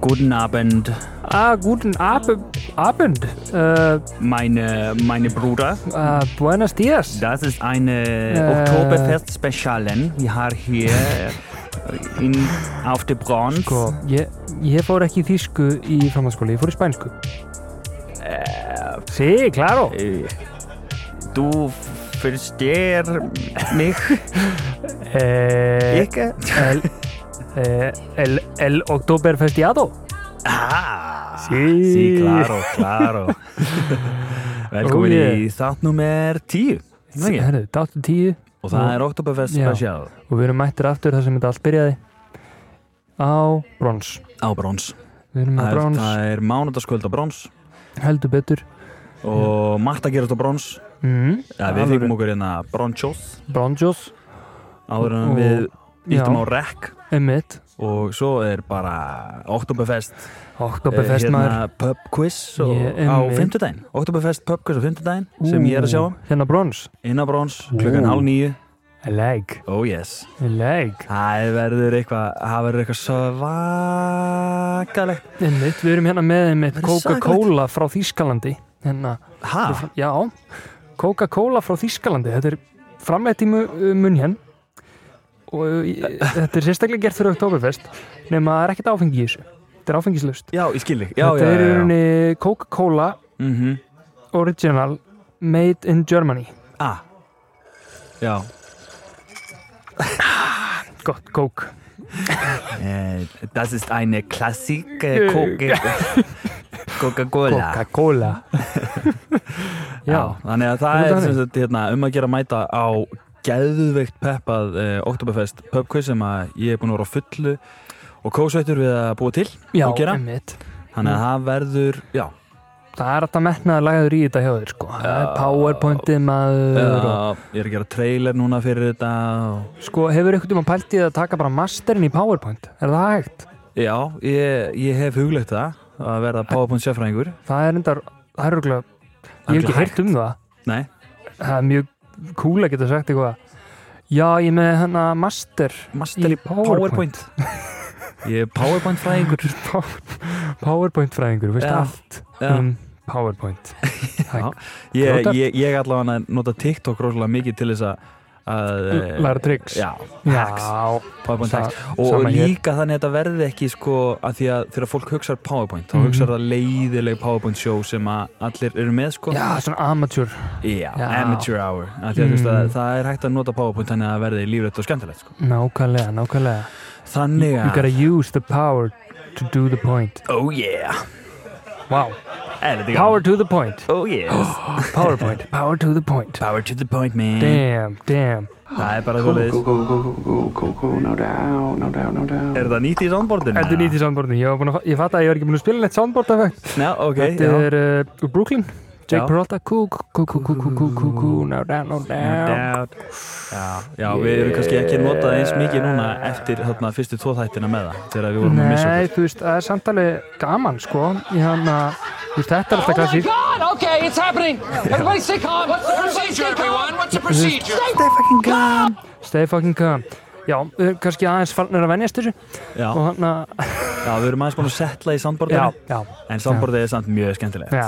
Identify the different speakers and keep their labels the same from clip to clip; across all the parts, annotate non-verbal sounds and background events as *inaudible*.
Speaker 1: Guten Abend,
Speaker 2: Ah, guten Ab Abend. Äh,
Speaker 1: meine, meine Bruder.
Speaker 2: äh, buenos dias.
Speaker 1: Das ist eine
Speaker 2: Äh.
Speaker 1: Oktoberfest-Spezialen. Wir haben hier äh, in, auf der Bronx.
Speaker 2: Sko, ég, ég fór ekki í þýsku í framhaldsskóli, ég fór í spænsku. Eh, Sí, claro.
Speaker 1: Äh, Du verstehst mich,
Speaker 2: Eh, Äh.
Speaker 1: ich?
Speaker 2: el, eh, el, el Oktoberfestiado.
Speaker 1: Ah,
Speaker 2: Sí.
Speaker 1: sí, claro, claro.
Speaker 2: *laughs*
Speaker 1: Velkomin
Speaker 2: Oh, yeah.
Speaker 1: í þátt nummer 10. er það ekki?
Speaker 2: Herru, dátum tíu
Speaker 1: Og það er Oktoberfest
Speaker 2: Já.
Speaker 1: Special
Speaker 2: og við erum mættir aftur þar sem þetta allt byrjaði. Á brons.
Speaker 1: á Brons.
Speaker 2: Við erum á
Speaker 1: Það er,
Speaker 2: brons,
Speaker 1: það er mánudaskvöld á Brons
Speaker 2: heldur betur.
Speaker 1: og margt að gerast á Brons.
Speaker 2: Mm,
Speaker 1: Ja, við
Speaker 2: Alvöru.
Speaker 1: fengum okkur hérna Bronchos
Speaker 2: Bronjos,
Speaker 1: áður en
Speaker 2: Og-
Speaker 1: við íttum á
Speaker 2: já.
Speaker 1: Rec
Speaker 2: emitt,
Speaker 1: og svo er bara Oktoberfest
Speaker 2: Oktoberfest
Speaker 1: eh,
Speaker 2: maður.
Speaker 1: pub quiz og,
Speaker 2: Ég er
Speaker 1: á
Speaker 2: með.
Speaker 1: fimmtudaginn Oktoberfest pub quiz á fimmtudaginn sem ég er að sjá um.
Speaker 2: Hérna brons.
Speaker 1: inn á Brons klukkan
Speaker 2: Ú.
Speaker 1: hálf nýju
Speaker 2: Leg,
Speaker 1: oh yes
Speaker 2: leg.
Speaker 1: það verður eitthvað það verður eitthvað svakalegt
Speaker 2: Einmitt, við erum hérna með einmitt
Speaker 1: Verður Ah.
Speaker 2: Coca-Cola frá Þýskalandi hérna,
Speaker 1: ha
Speaker 2: já Coca-Cola frá Þýskalandi þetta er framleitt í munn hér og uh,
Speaker 1: *laughs*
Speaker 2: þetta er sérstaklega gert fyrir Oktoberfest nema það er ekkert áfengi í þessu þetta er áfengislaust
Speaker 1: já ég skil þig já já
Speaker 2: þetta
Speaker 1: já,
Speaker 2: er í
Speaker 1: já.
Speaker 2: rauninni Coca-Cola
Speaker 1: Mm
Speaker 2: Original Made in Germany
Speaker 1: ah já
Speaker 2: gott kók
Speaker 1: Äh, Das ist eine Klassik äh,
Speaker 2: *laughs*
Speaker 1: Coca- Coca-Cola.
Speaker 2: Coca-Cola
Speaker 1: *laughs*
Speaker 2: já,
Speaker 1: Já, þannig að
Speaker 2: Er
Speaker 1: það
Speaker 2: það
Speaker 1: er sem
Speaker 2: þannig?
Speaker 1: sagt, hérna, um að gera mæta á gæðuveikt peppað eh, Oktoberfest pub quiz sem að ég er búin að vera á fullu og kósveitur við að búa til
Speaker 2: já,
Speaker 1: og gera.
Speaker 2: einmitt
Speaker 1: Þannig
Speaker 2: Mm.
Speaker 1: að það verður, já,
Speaker 2: það er alltaf metnaður lagður í þetta hjá þér sko. Það er powerpointið maður og
Speaker 1: ég er að gera trailer núna fyrir þetta og,
Speaker 2: Sko, hefur ykkur tíma pælt í að taka bara masterin í PowerPoint? Er það hægt?
Speaker 1: Já, ég, ég hef huglegt það að verða PowerPoint sérfræðingur
Speaker 2: Það er endar, það er örgulega, ég hef
Speaker 1: Örugglega
Speaker 2: ekki heyrt um það.
Speaker 1: Nei,
Speaker 2: Það er mjög cool að geta sagt eitthvað. Já, ég er með hana master
Speaker 1: master
Speaker 2: Í PowerPoint.
Speaker 1: Ég er PowerPoint
Speaker 2: *laughs*
Speaker 1: fræðingur
Speaker 2: PowerPoint fræðingur, veist
Speaker 1: Já,
Speaker 2: allt um PowerPoint.
Speaker 1: *laughs* Já.
Speaker 2: Hægt,
Speaker 1: ég,
Speaker 2: Notar-
Speaker 1: ég, ég allavega nota TikTok rosalega mikið til þess að- að eh,
Speaker 2: læra tricks.
Speaker 1: já,
Speaker 2: Já,
Speaker 1: hacks, PowerPoint
Speaker 2: Sa-
Speaker 1: hacks og, og
Speaker 2: sama hér.
Speaker 1: líka þannig að þetta verði ekki sko að því að þegar fólk hugsar PowerPoint þá
Speaker 2: Mhm.
Speaker 1: hugsar það leiðileg PowerPoint show sem að allir eru með sko
Speaker 2: já, svona amatjör.
Speaker 1: Já,
Speaker 2: Já.
Speaker 1: amateur hour að því að, þú veist,
Speaker 2: Mm.
Speaker 1: að það er hægt að nota PowerPoint þannig að það verði lífrætt og skemmtilegt sko
Speaker 2: Nákvæmlega, nákvæmlega.
Speaker 1: þannig
Speaker 2: You gotta
Speaker 1: að,
Speaker 2: use the power to do the point.
Speaker 1: oh yeah
Speaker 2: Wow,
Speaker 1: er þetta
Speaker 2: power
Speaker 1: gaman?
Speaker 2: to the point.
Speaker 1: oh yes
Speaker 2: *gasps*
Speaker 1: *laughs*
Speaker 2: PowerPoint, power to the point.
Speaker 1: power to the point man
Speaker 2: Damn, damn.
Speaker 1: það er bara
Speaker 3: Cool,
Speaker 1: þú
Speaker 3: cool, cool, cool, cool, cool, cool, no doubt, no doubt, no doubt.
Speaker 1: er það nýtt í soundboardinu?
Speaker 2: Þetta er nýtt í soundboardinu, ég, var búinn að fa- ég fatt að ég var ekki búin að spila neitt soundboard af þetta.
Speaker 1: Já, ok,
Speaker 2: Þetta
Speaker 1: já.
Speaker 2: er uh, úr Brooklyn, Jake
Speaker 1: Já.
Speaker 2: Peralta, kú, kú, kú, kú, kú, kú, kú, kú, kú, no down, no down.
Speaker 1: Já, já við erum kannski ekki notað eins mikið núna eftir þarna, fyrstu tvo þættina með það þegar við vorum að missa
Speaker 2: Nei,
Speaker 1: okkur
Speaker 2: þú veist, það er samtali gaman, sko, í hann að, þú veist, þetta er alltaf klassík.
Speaker 4: Oh God! Okay, it's happening. Everybody stay calm. What's the procedure, everyone? What's the procedure?
Speaker 2: Stay fucking calm. Já, við erum kannski aðeins farnir að venjast þessu
Speaker 1: já,
Speaker 2: og hann að,
Speaker 1: já, við erum aðeins búin að setla í
Speaker 2: já,
Speaker 1: sandbordinu
Speaker 2: já,
Speaker 1: en sandbordið er samt mjög skemmtilegt
Speaker 2: já,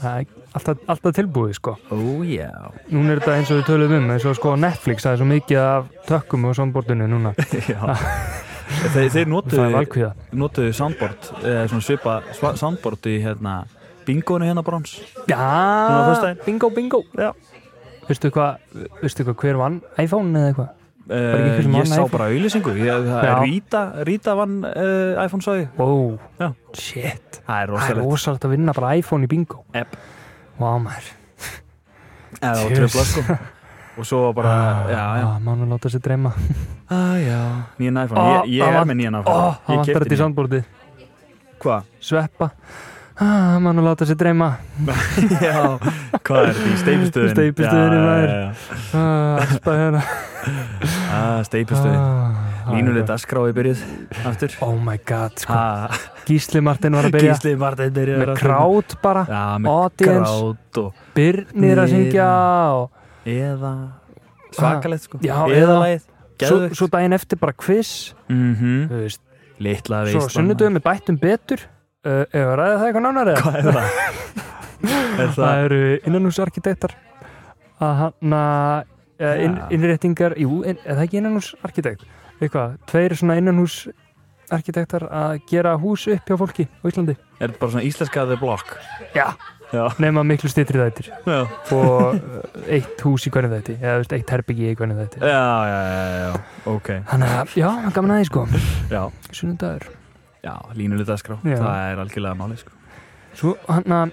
Speaker 2: það er alltaf, alltaf tilbúið, sko.
Speaker 1: Ó
Speaker 2: *laughs*
Speaker 1: já,
Speaker 2: Núna er þetta eins og við töluðum um, eins og sko Netflix, það er svo mikið af tökkum á soundboardinu núna,
Speaker 1: já. Þeir, þeir
Speaker 2: það er
Speaker 1: notuðu,
Speaker 2: valkvíða.
Speaker 1: notuðu sandbord eh, svona svipa sva- sandbord í hérna, bingonu hérna brons á
Speaker 2: *laughs* Já,
Speaker 1: föstudaginn.
Speaker 2: bingo, bingo
Speaker 1: Já.
Speaker 2: Veistu hvað, veistu hvað hver vann? iPhone eða eitthvað? ekki
Speaker 1: eh,
Speaker 2: hver sem
Speaker 1: ég
Speaker 2: vann
Speaker 1: sá
Speaker 2: iPhone.
Speaker 1: bara auðlýsingu ég- það er
Speaker 2: Já.
Speaker 1: Rita, Rita vann eh, iPhone sagði
Speaker 2: Ó,
Speaker 1: Já.
Speaker 2: shit
Speaker 1: það er
Speaker 2: Það er
Speaker 1: rosalegt
Speaker 2: rosalegt að vinna bara iPhone í bingo
Speaker 1: Epp.
Speaker 2: Vá maður
Speaker 1: eða
Speaker 2: Tjus.
Speaker 1: tröfla sko
Speaker 2: *laughs*
Speaker 1: og svo bara, já, já
Speaker 2: ah, Mánu láta sér dreyma
Speaker 1: Ah, já, nýjan iPhone,
Speaker 2: Ó,
Speaker 1: ég, ég
Speaker 2: Ah, það
Speaker 1: er
Speaker 2: vant-
Speaker 1: með nýjan
Speaker 2: Ó,
Speaker 1: iPhone
Speaker 2: Það
Speaker 1: Ég
Speaker 2: vantar
Speaker 1: kefti
Speaker 2: þetta í
Speaker 1: nýjan
Speaker 2: soundboardið
Speaker 1: Hvað?
Speaker 2: Sveppa ah, mann að láta sér dreyma
Speaker 1: *laughs* Já, hvað er því? Steipistöðin
Speaker 2: Steypistöðin, maður. ah, Aspa hérna
Speaker 1: ah, Steipistöðin
Speaker 2: Ah,
Speaker 1: Línuleg dasgrái byrjuð aftur
Speaker 2: Oh my god, sko
Speaker 1: ah,
Speaker 2: Gísli Martin var að *laughs* byrja
Speaker 1: Gísli Martin byrjuð
Speaker 2: með
Speaker 1: aftur.
Speaker 2: krát bara
Speaker 1: Já, með
Speaker 2: audience.
Speaker 1: krát og
Speaker 2: Byrnir að syngja og
Speaker 1: eða svakalegt sko
Speaker 2: Já,
Speaker 1: eða
Speaker 2: eða-
Speaker 1: lagið
Speaker 2: svo,
Speaker 1: Geðvögt
Speaker 2: svo daginn eftir bara quiz
Speaker 1: Mhm.
Speaker 2: þú veist,
Speaker 1: Litla veist
Speaker 2: svo sunnudum við bættum betur uh, ef að ræða það eitthvað nánar eða
Speaker 1: Hvað er
Speaker 2: *laughs*
Speaker 1: það? er það
Speaker 2: það eru innanúsarkitektar að hann að inn,
Speaker 1: Ja.
Speaker 2: innréttingar, jú, inn, er það ekki innanúsarkitekt eitthvað, tveir svona innanúsarkitektar að gera hús upp hjá fólki á Íslandi
Speaker 1: Er þetta bara svona íslenska The Block?
Speaker 2: já,
Speaker 1: Já.
Speaker 2: nema miklu stytri þættir
Speaker 1: Já,
Speaker 2: og uh, eitt hús í hvernig þætti eða þú veist, eitt herbyggi í hvernig þætti
Speaker 1: já, já, já, já. ok
Speaker 2: þannig að, já, gaman aðeins sko
Speaker 1: Já,
Speaker 2: sunnudagur
Speaker 1: já línuleg dasgrá,
Speaker 2: Já.
Speaker 1: það er algjörlega máli sko
Speaker 2: Svo, hana,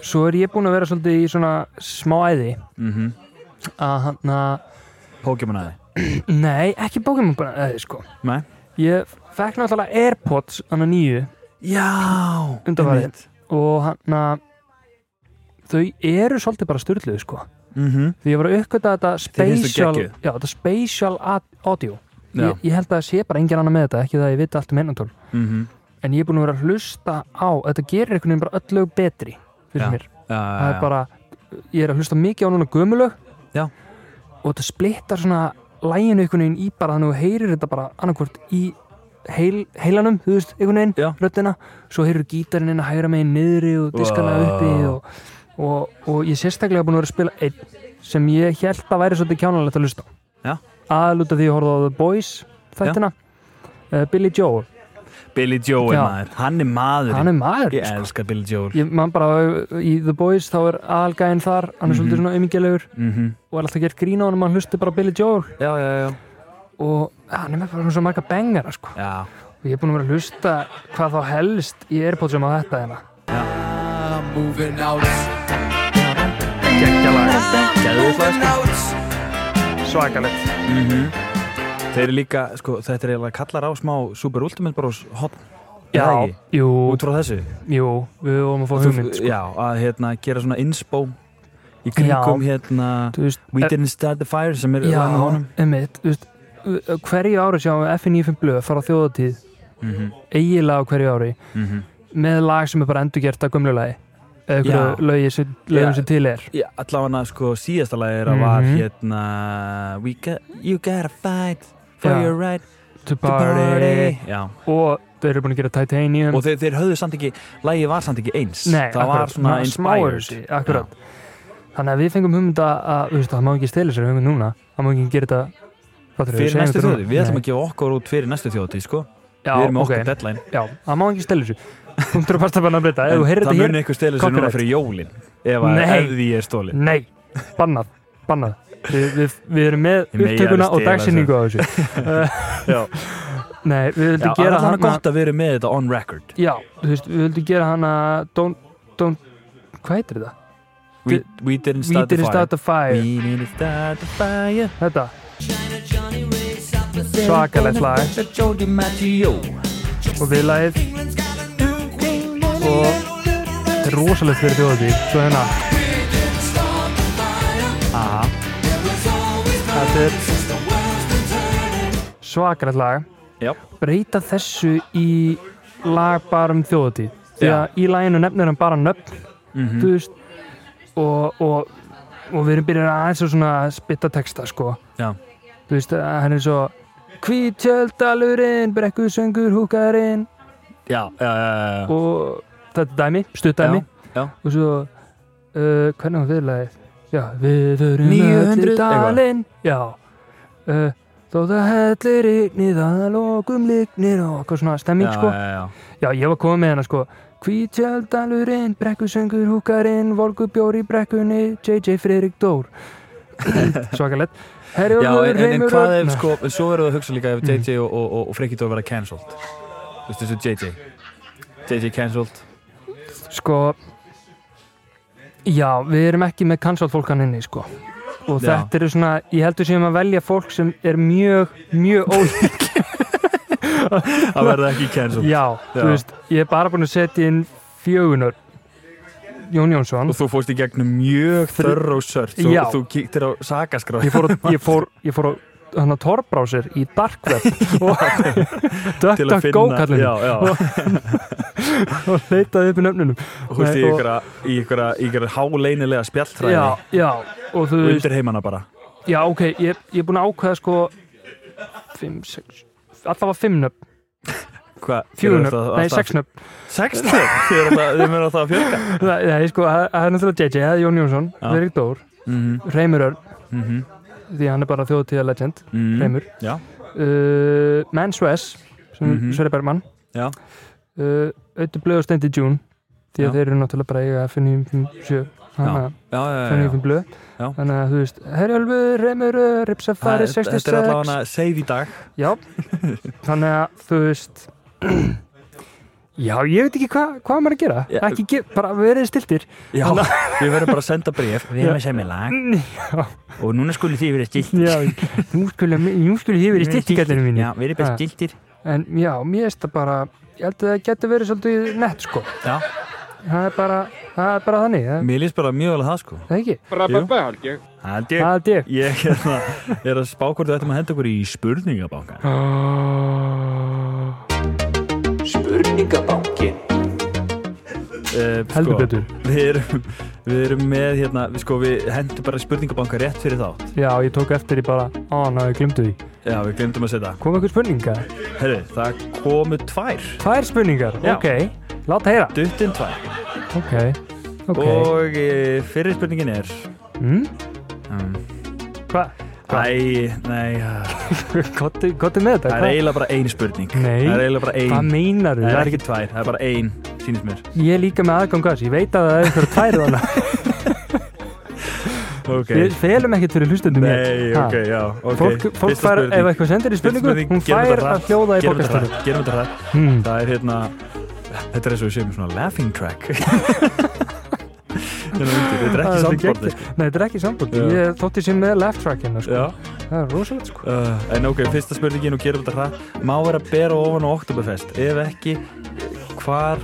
Speaker 2: svo er ég búinn að vera svolítið í svona smá æði
Speaker 1: mm
Speaker 2: að hana,
Speaker 1: Pokémon aði
Speaker 2: nei, ekki Pokémon bara æði sko.
Speaker 1: Nei
Speaker 2: Ég fekk náttúrulega Airpods hana nýju
Speaker 1: Já
Speaker 2: Undanfarið.
Speaker 1: einmitt.
Speaker 2: og hana, þau eru svolítið bara styrluð sko.
Speaker 1: Mhm.
Speaker 2: Því ég var að uppgöta þetta
Speaker 1: finnst þau
Speaker 2: spatial,
Speaker 1: geggjuð?
Speaker 2: já, þetta spatial ad- audio.
Speaker 1: Já.
Speaker 2: Ég, ég held að það sé bara engin annað með þetta, ekki það að ég viti allt um einantól.
Speaker 1: Mhm.
Speaker 2: En ég er búinn að vera að hlusta á, þetta gerir einhvern veginn bara öll lög betri fyrir
Speaker 1: Já.
Speaker 2: mér.
Speaker 1: Já,
Speaker 2: það
Speaker 1: já,
Speaker 2: er
Speaker 1: já.
Speaker 2: bara, ég er að hlusta mikið á núna gömulög
Speaker 1: Já.
Speaker 2: og þetta splittar svona læginu einhvern veginn í bara þannig að þú heyrir þetta bara annarkvort í heil, heilanum, þú veist, einhvern veginn
Speaker 1: Já.
Speaker 2: röddina, svo heyrir gítarinn inn að hægra meginn niðri og diskana
Speaker 1: Vá.
Speaker 2: uppi og, og, og ég er sérstaklega búin að vera að spila einn sem ég held að væri svolítið kjánalegt að hlusta
Speaker 1: Já.
Speaker 2: aðluta því að horfa á The Boys þættina, uh, Billy Joel
Speaker 1: Billy Joel
Speaker 2: Já.
Speaker 1: maður, hann er maður
Speaker 2: hann er maður, sko.
Speaker 1: Ég elska Billy Joel
Speaker 2: ég man bara uh, í The Boys þá er algæðin þar, hann er svolítið svona umíkjalegur
Speaker 1: Mhm.
Speaker 2: og er alltaf gert grín á hann hann hlusti bara á Billy Joel
Speaker 1: Já, já, já
Speaker 2: og ja, hann er með bara svona marga bengara sko.
Speaker 1: Já,
Speaker 2: og ég er búin að vera að hlusta hvað þá helst í Airpods um að þetta hérna Gekkjalag
Speaker 1: geðvilt lag sko Mhm.
Speaker 2: Svakalegt
Speaker 1: Þeir eru líka, sko, þetta er eiginlega kallar á smá Super Ultimate Bros hotn
Speaker 2: Já,
Speaker 1: Eða ekki?
Speaker 2: jú,
Speaker 1: Út frá þessu
Speaker 2: jú, við vorum að fá hugmynd sko.
Speaker 1: Já, að hérna gera svona inspo í kringum hérna
Speaker 2: Þú veist,
Speaker 1: We
Speaker 2: eh,
Speaker 1: Didn't Start the Fire sem er
Speaker 2: Já,
Speaker 1: lagið með honum
Speaker 2: einmitt, þú veist uh, hverju ári sjáum við FNF blöð fara á þjóðatíð
Speaker 1: Mhm,
Speaker 2: eiginlega á hverju ári
Speaker 1: mhm.
Speaker 2: með lag sem er bara endurgert að gömlulagi
Speaker 1: Já.
Speaker 2: eða einhverju lögi sem, lögum
Speaker 1: Já.
Speaker 2: sem til er
Speaker 1: Já, allavega sko síðasta lagi er að var
Speaker 2: Mhm.
Speaker 1: hérna We got, You gotta fight for
Speaker 2: Já.
Speaker 1: your right
Speaker 2: to
Speaker 1: to
Speaker 2: party
Speaker 1: party Já,
Speaker 2: og þau eru búin að gera Titanium
Speaker 1: og þeir, þeir höfðu samt ekki lagið var samt ekki eins
Speaker 2: Nei,
Speaker 1: það var
Speaker 2: akkurat,
Speaker 1: svona
Speaker 2: smáður
Speaker 1: inspired
Speaker 2: þessi, akkurat þannig að við fengum hugmynda að þú veist, það má ekki stela sér hugmynd núna það má ekki gera þetta fattur,
Speaker 1: fyrir næstu þjóði, við ætlum að gefa okkur út fyrir næstu þjóði sko,
Speaker 2: já,
Speaker 1: við erum með
Speaker 2: ok,
Speaker 1: okkur deadline
Speaker 2: já, það má ekki stela sér punktur og fasta bara að breyta, ef þú
Speaker 1: en
Speaker 2: heyrir
Speaker 1: það
Speaker 2: þetta
Speaker 1: muni ykkur stelið sér núna
Speaker 2: copyright.
Speaker 1: fyrir jólin ef, að-
Speaker 2: Nei.
Speaker 1: ef því er stólin
Speaker 2: hér nei, bannað, bannað við, við, við erum með
Speaker 1: Þið megi
Speaker 2: upptökuna
Speaker 1: alveg
Speaker 2: og
Speaker 1: stela
Speaker 2: dagsinningu á þessu
Speaker 1: *laughs*
Speaker 2: Eh,
Speaker 1: Já,
Speaker 2: nei, við
Speaker 1: já
Speaker 2: vildum
Speaker 1: gera
Speaker 2: gera
Speaker 1: hann
Speaker 2: hana
Speaker 1: gott að vera með þetta on record
Speaker 2: já, þú veist, við vildum gera hana don't, don't, hvað heitir þetta?
Speaker 1: We, we didn't
Speaker 2: We
Speaker 1: start the fire
Speaker 2: didn't start the fire
Speaker 1: We didn't start the fire
Speaker 2: Þetta Svakalegt lag Og við lagið Og Þetta er rosalegt fyrir þjóðatí Svo hérna
Speaker 1: Aha.
Speaker 2: Þetta er Svakalegt lag
Speaker 1: Já,
Speaker 2: Breyta þessu í lag bara um þjóðatí Því
Speaker 1: Já. Mhm.
Speaker 2: að í laginu nefnir hann bara nöfn Þú veist Og, og, og við erum byrjað aðeins að svona spitta texta sko
Speaker 1: já,
Speaker 2: þú veist, að hann er svo Hvítjöldalurinn, brekkusöngur, húkarinn
Speaker 1: já, já, já, já.
Speaker 2: og þetta er dæmi, stutt dæmi
Speaker 1: Já, já.
Speaker 2: og svo uh, hvernig var viðlagið? Já, við förum
Speaker 1: 900
Speaker 2: öll í dalinn Já uh, Þó það hellir yknir að lokum líknir og eitthvað svona stemming
Speaker 1: já,
Speaker 2: sko
Speaker 1: já, já.
Speaker 2: Já, ég var komið með hennar sko Hvítjöldalurinn, brekkusöngur, húkarinn Volgubjór í brekkunni, JJ Friðrik
Speaker 1: *laughs*
Speaker 2: Dór Svakalett Herri
Speaker 1: Já,
Speaker 2: Ólafur,
Speaker 1: en, en, en
Speaker 2: Reimur
Speaker 1: hvað
Speaker 2: Örn-
Speaker 1: ef, sko, en svo verður það að hugsa líka ef JJ og, og, og, og Freki Dór verða cancelled Þú veist þessu JJ JJ cancelled
Speaker 2: Sko Já, við erum ekki með cancelled fólkan inni sko. og
Speaker 1: Já.
Speaker 2: þetta eru svona ég heldur sem að velja fólk sem er mjög mjög
Speaker 1: *laughs*
Speaker 2: ólík
Speaker 1: *laughs* Það verða ekki cancelled
Speaker 2: Já, þú
Speaker 1: Já.
Speaker 2: veist, ég er bara búin að setja inn fjögunar Jón Jónsson
Speaker 1: Og þú fórst í gegnum mjög þörr og sört Þú,
Speaker 2: Já.
Speaker 1: þú kíktir á sakaskráð
Speaker 2: ég fór, á- ég fór, ég fór á hann að torbrásir í dark
Speaker 1: *laughs*
Speaker 2: web og
Speaker 1: *laughs* til að
Speaker 2: DuckDuckGo
Speaker 1: finna
Speaker 2: kallinu
Speaker 1: já, *laughs* já,
Speaker 2: og leitaði upp í nöfnunum
Speaker 1: og húst
Speaker 2: Nei,
Speaker 1: í
Speaker 2: og-
Speaker 1: ykkur í ykkur, í ykkur háleinilega spjalltræði
Speaker 2: já, já, og þú veist
Speaker 1: undir heimana bara
Speaker 2: já, ok, ég, ég er búin að ákveða sko 5, 6 allavega 5 nöfn,
Speaker 1: Hva,
Speaker 2: 4 nöfn, nei 6 nöfn
Speaker 1: Sex nöfn? Þið eru alltaf- þið munu alltaf að fjölga *laughs*
Speaker 2: það nei, sko, það það er náttúrulega JJ, það er Jón Jónsson
Speaker 1: Já.
Speaker 2: Verið Dór,
Speaker 1: Mhm,
Speaker 2: Reymur Örn
Speaker 1: mhm,
Speaker 2: því hann er bara þjóðtíða legend,
Speaker 1: mhm.
Speaker 2: Reymur
Speaker 1: Já,
Speaker 2: uh, Men's Wes sem mm
Speaker 1: Mhm.
Speaker 2: Sverri Bergman
Speaker 1: Já.
Speaker 2: uh, Öttu Blöð og Steindi June því að
Speaker 1: Já.
Speaker 2: þeir eru náttúrulega bara að eiga F957 þannig að
Speaker 1: já, já, já, já.
Speaker 2: 595 Blöð
Speaker 1: Já.
Speaker 2: þannig að þú veist Herjálfur, Remur,
Speaker 1: Það
Speaker 2: Ripsafari
Speaker 1: er- Þetta er allavega
Speaker 2: 66
Speaker 1: save í dag *laughs*
Speaker 2: já, þannig að þú veist *clears throat* já, ég veit ekki hvað hvað á maður að gera
Speaker 1: Já.
Speaker 2: ekki ge bara verið stiltir
Speaker 1: Já, við verðum bara að senda bref Við erum að semja lag
Speaker 2: já,
Speaker 1: og núna skulum þið verið stilt
Speaker 2: já *laughs* nú skulle nú skulle þið verið stiltir gætinu mínu Ah,
Speaker 1: Já, við erum bara stiltir
Speaker 2: En já, mér finnst það bara, ég held að það getur verið svolítið nett sko.
Speaker 1: Já,
Speaker 2: Það er bara, það er bara þannig, það
Speaker 1: mér líst bara mjög alveg það sko
Speaker 2: það er ekki.
Speaker 1: Það
Speaker 2: Það held ég.
Speaker 1: Ég hérna, er að spá hvort við ættum að henda okkur í spurningabankan uh,
Speaker 2: Heldur betur.
Speaker 1: Við erum, við erum með hérna, við, sko, við hendum bara í spurningabanka rétt fyrir þátt
Speaker 2: Já, ég tók eftir í bara, á, ná, ég glimtu því.
Speaker 1: Já, við glemdum að setja
Speaker 2: Kom eitthvað spurningar?
Speaker 1: Herru, það komu tvær
Speaker 2: Tvær spurningar,
Speaker 1: Já.
Speaker 2: ok. Láta heyra.
Speaker 1: Duttin tvær
Speaker 2: Ok, ok.
Speaker 1: Og e, fyrir spurningin er
Speaker 2: Mm?
Speaker 1: um,
Speaker 2: Hvað? Hva?
Speaker 1: Æ, nei, uh,
Speaker 2: Gott gott er með þetta,
Speaker 1: það er
Speaker 2: hvað?
Speaker 1: eiginlega bara ein spurning
Speaker 2: Nei.
Speaker 1: Það er eiginlega bara
Speaker 2: Hvað
Speaker 1: ein
Speaker 2: meinar þú?
Speaker 1: Það er ekki tvær, það er bara ein, sýnist mér
Speaker 2: Ég er líka með aðgang gas, ég veit að það er einhverja tvær þannig.
Speaker 1: *laughs* Ok,
Speaker 2: Við felum ekkert fyrir hlustundum
Speaker 1: nei,
Speaker 2: Ha.
Speaker 1: ok, já okay.
Speaker 2: Fólk, fólk
Speaker 1: Fyrsta
Speaker 2: fær,
Speaker 1: spurning.
Speaker 2: ef eitthvað sendir í
Speaker 1: Fyrsta
Speaker 2: spurningu,
Speaker 1: spurning,
Speaker 2: hún
Speaker 1: gerum
Speaker 2: fær
Speaker 1: þetta
Speaker 2: að
Speaker 1: hratt,
Speaker 2: hljóða í
Speaker 1: gerum þetta hratt,
Speaker 2: bókastunum.
Speaker 1: Gerum þetta hratt
Speaker 2: Hmm.
Speaker 1: Það er hérna Þetta er eins og við séum svona laughing track *laughs* Hérna undir, Þetta er ekki
Speaker 2: Það er
Speaker 1: samborðið
Speaker 2: geggjað. Nei, þetta er ekki sambandi.
Speaker 1: Já.
Speaker 2: Ég þótti sem með left track hérna, sko.
Speaker 1: Já,
Speaker 2: Það er rosalegt, sko.
Speaker 1: uh, en ok, fyrsta spurningin og gerum þetta hratt Má vera að bera ofan á Oktoberfest Ef ekki, hvar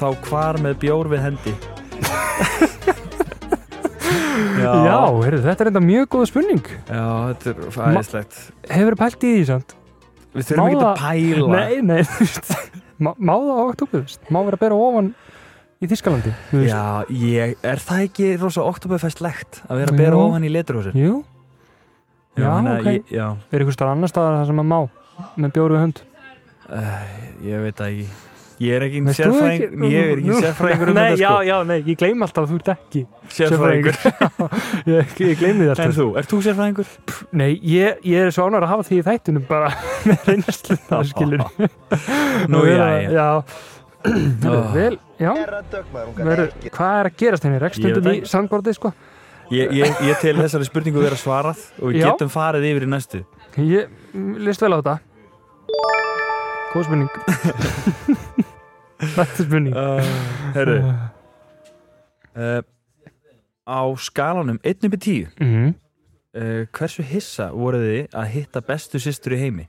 Speaker 1: Þá hvar með bjór við
Speaker 2: *laughs*
Speaker 1: hendi Já,
Speaker 2: Já, heyrðu, þetta er enda mjög góð spurning.
Speaker 1: já, þetta er fæðislegt
Speaker 2: Hefur pælt í því samt?
Speaker 1: Við þurfum
Speaker 2: Má
Speaker 1: ekki að
Speaker 2: það-
Speaker 1: pæla
Speaker 2: Nei, nei, þú veist. Má má það á oktober, þú veist. Má vera að bera ofan í Þískalandi, þú veist.
Speaker 1: Já, ég, er það ekki rosa Oktoberfest-legt að vera að bera
Speaker 2: Jú.
Speaker 1: ofan í leturhúsin?
Speaker 2: Jú, já, ok.
Speaker 1: Ég, já,
Speaker 2: er einhvers staðar annar staðar þar sem að má með bjóru hund.
Speaker 1: ég veit það ekki. Ég er ekki
Speaker 2: Veist þú
Speaker 1: sérfræðing,
Speaker 2: ekki?
Speaker 1: ég er ekki
Speaker 2: Nú.
Speaker 1: sérfræðingur um
Speaker 2: Nei,
Speaker 1: þetta
Speaker 2: já,
Speaker 1: sko.
Speaker 2: já, nei, ég gleym alltaf að þú ert ekki.
Speaker 1: Sérfræðingur.
Speaker 2: Ég, ég gleymi því alltaf. sko.
Speaker 1: En þú, ert þú sérfræðingur?
Speaker 2: Nei, ég, ég er svo ánægur að hafa því í þættunum bara *laughs* með
Speaker 1: *laughs*
Speaker 2: reynslu það, skilur.
Speaker 1: Nú, já, já.
Speaker 2: já. já. Heyrðu,
Speaker 1: Ah.
Speaker 2: vel, já. Veru, hvað er að gerast henni?
Speaker 1: Ég veit
Speaker 2: Rekstundum í
Speaker 1: ekki.
Speaker 2: sandborðið, sko?
Speaker 1: Ég, ég, ég tel þessari spurningu vera svarað og við
Speaker 2: Já.
Speaker 1: getum farið yfir í næstu.
Speaker 2: Ég list vel á þetta.
Speaker 1: *laughs*
Speaker 2: Góð spurning. Þetta er spurning.
Speaker 1: Uh,
Speaker 2: *laughs*
Speaker 1: Herru, uh, á skalanum 1 upp í 10,
Speaker 2: Mm.
Speaker 1: uh, hversu hissa voruð þið að hitta bestu systur í heimi?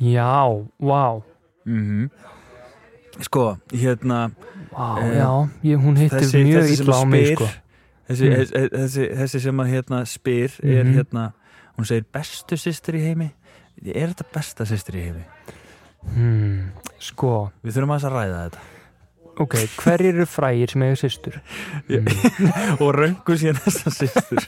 Speaker 2: Já, vá. Mhm.
Speaker 1: Mm Sko, hérna...
Speaker 2: Vá,
Speaker 1: Eh,
Speaker 2: já, ég, hún hittir
Speaker 1: þessi,
Speaker 2: mjög
Speaker 1: þessi sem
Speaker 2: illa á
Speaker 1: að
Speaker 2: mig,
Speaker 1: spyr
Speaker 2: sko.
Speaker 1: þessi,
Speaker 2: Mm.
Speaker 1: þessi, þessi, þessi sem að hérna spyr er
Speaker 2: Mhm.
Speaker 1: hérna hún segir bestu systir í heimi er þetta besta systir í heimi?
Speaker 2: Hmm. Sko,
Speaker 1: Við þurfum aðeins að ræða þetta
Speaker 2: ok, hverjir eru frægir sem eiga systur? Mm.
Speaker 1: *laughs* og röngu síðan þessa systur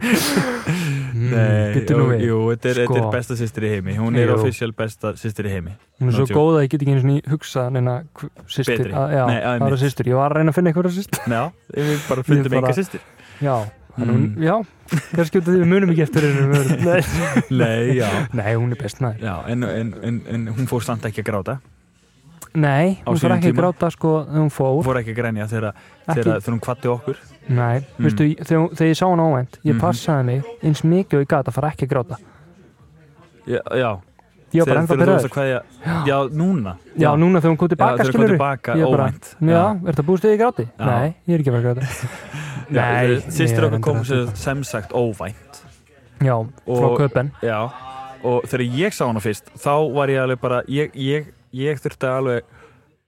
Speaker 2: Hmm,
Speaker 1: Nei,
Speaker 2: bíddu nú
Speaker 1: jú,
Speaker 2: við.
Speaker 1: jú, þetta er, þetta
Speaker 2: Sko.
Speaker 1: er besta systir í heimi hún er
Speaker 2: Jú.
Speaker 1: official besta systir í heimi
Speaker 2: Hún er
Speaker 1: No
Speaker 2: svo
Speaker 1: joke.
Speaker 2: góð að ég get ekki einu sinni hugsað neina hv- systir.
Speaker 1: Betri.
Speaker 2: að- Já,
Speaker 1: Nei, að
Speaker 2: aðra
Speaker 1: mitt.
Speaker 2: systir. Ég var að reyna að finna
Speaker 1: *laughs*
Speaker 2: einhverja systir.
Speaker 1: Já, við bara fundum
Speaker 2: bara-
Speaker 1: enga systir
Speaker 2: Já, mm. hún,
Speaker 1: Mm.
Speaker 2: já, kannski út af því við munum ekki eftir henni
Speaker 1: *laughs*
Speaker 2: Nei,
Speaker 1: Nei, já,
Speaker 2: Nei, hún er best maður
Speaker 1: já en, en, en, en hún fór samt ekki að gráta
Speaker 2: Nei,
Speaker 1: Á
Speaker 2: hún fór
Speaker 1: sínum
Speaker 2: ekki að
Speaker 1: tíma.
Speaker 2: gráta sko þegar hún
Speaker 1: hún
Speaker 2: fór
Speaker 1: fór ekki að grænja þegar,
Speaker 2: Ekki.
Speaker 1: þegar, þegar hún kvatti okkur
Speaker 2: Nei,
Speaker 1: Mm.
Speaker 2: veistu, ég- þegar, hún- þegar ég sá hún óvænt ég
Speaker 1: Mhm.
Speaker 2: passaði mig eins mikið og ég gat að fara ekki að gráta
Speaker 1: Já, já
Speaker 2: Ég var bara
Speaker 1: þegar
Speaker 2: ennþá
Speaker 1: þú varst
Speaker 2: byrjaður
Speaker 1: að kveðja Já, núna
Speaker 2: Já, núna þegar hún kom
Speaker 1: Já,
Speaker 2: tilbaka
Speaker 1: þegar hún kom
Speaker 2: skilur
Speaker 1: tilbaka, óvænt.
Speaker 2: Já,
Speaker 1: Já.
Speaker 2: er þetta búist við í gráti?
Speaker 1: Já.
Speaker 2: Nei, ég er ekki að fara að gráta Nei, ég
Speaker 1: Sýstir
Speaker 2: er
Speaker 1: okkar
Speaker 2: reyndar
Speaker 1: kom
Speaker 2: að
Speaker 1: sem, sem sagt óvænt
Speaker 2: Já, frá
Speaker 1: Og-
Speaker 2: köpen
Speaker 1: Já Og þegar ég sá hana fyrst Þá var ég alveg bara Ég, ég, ég þurfti alveg að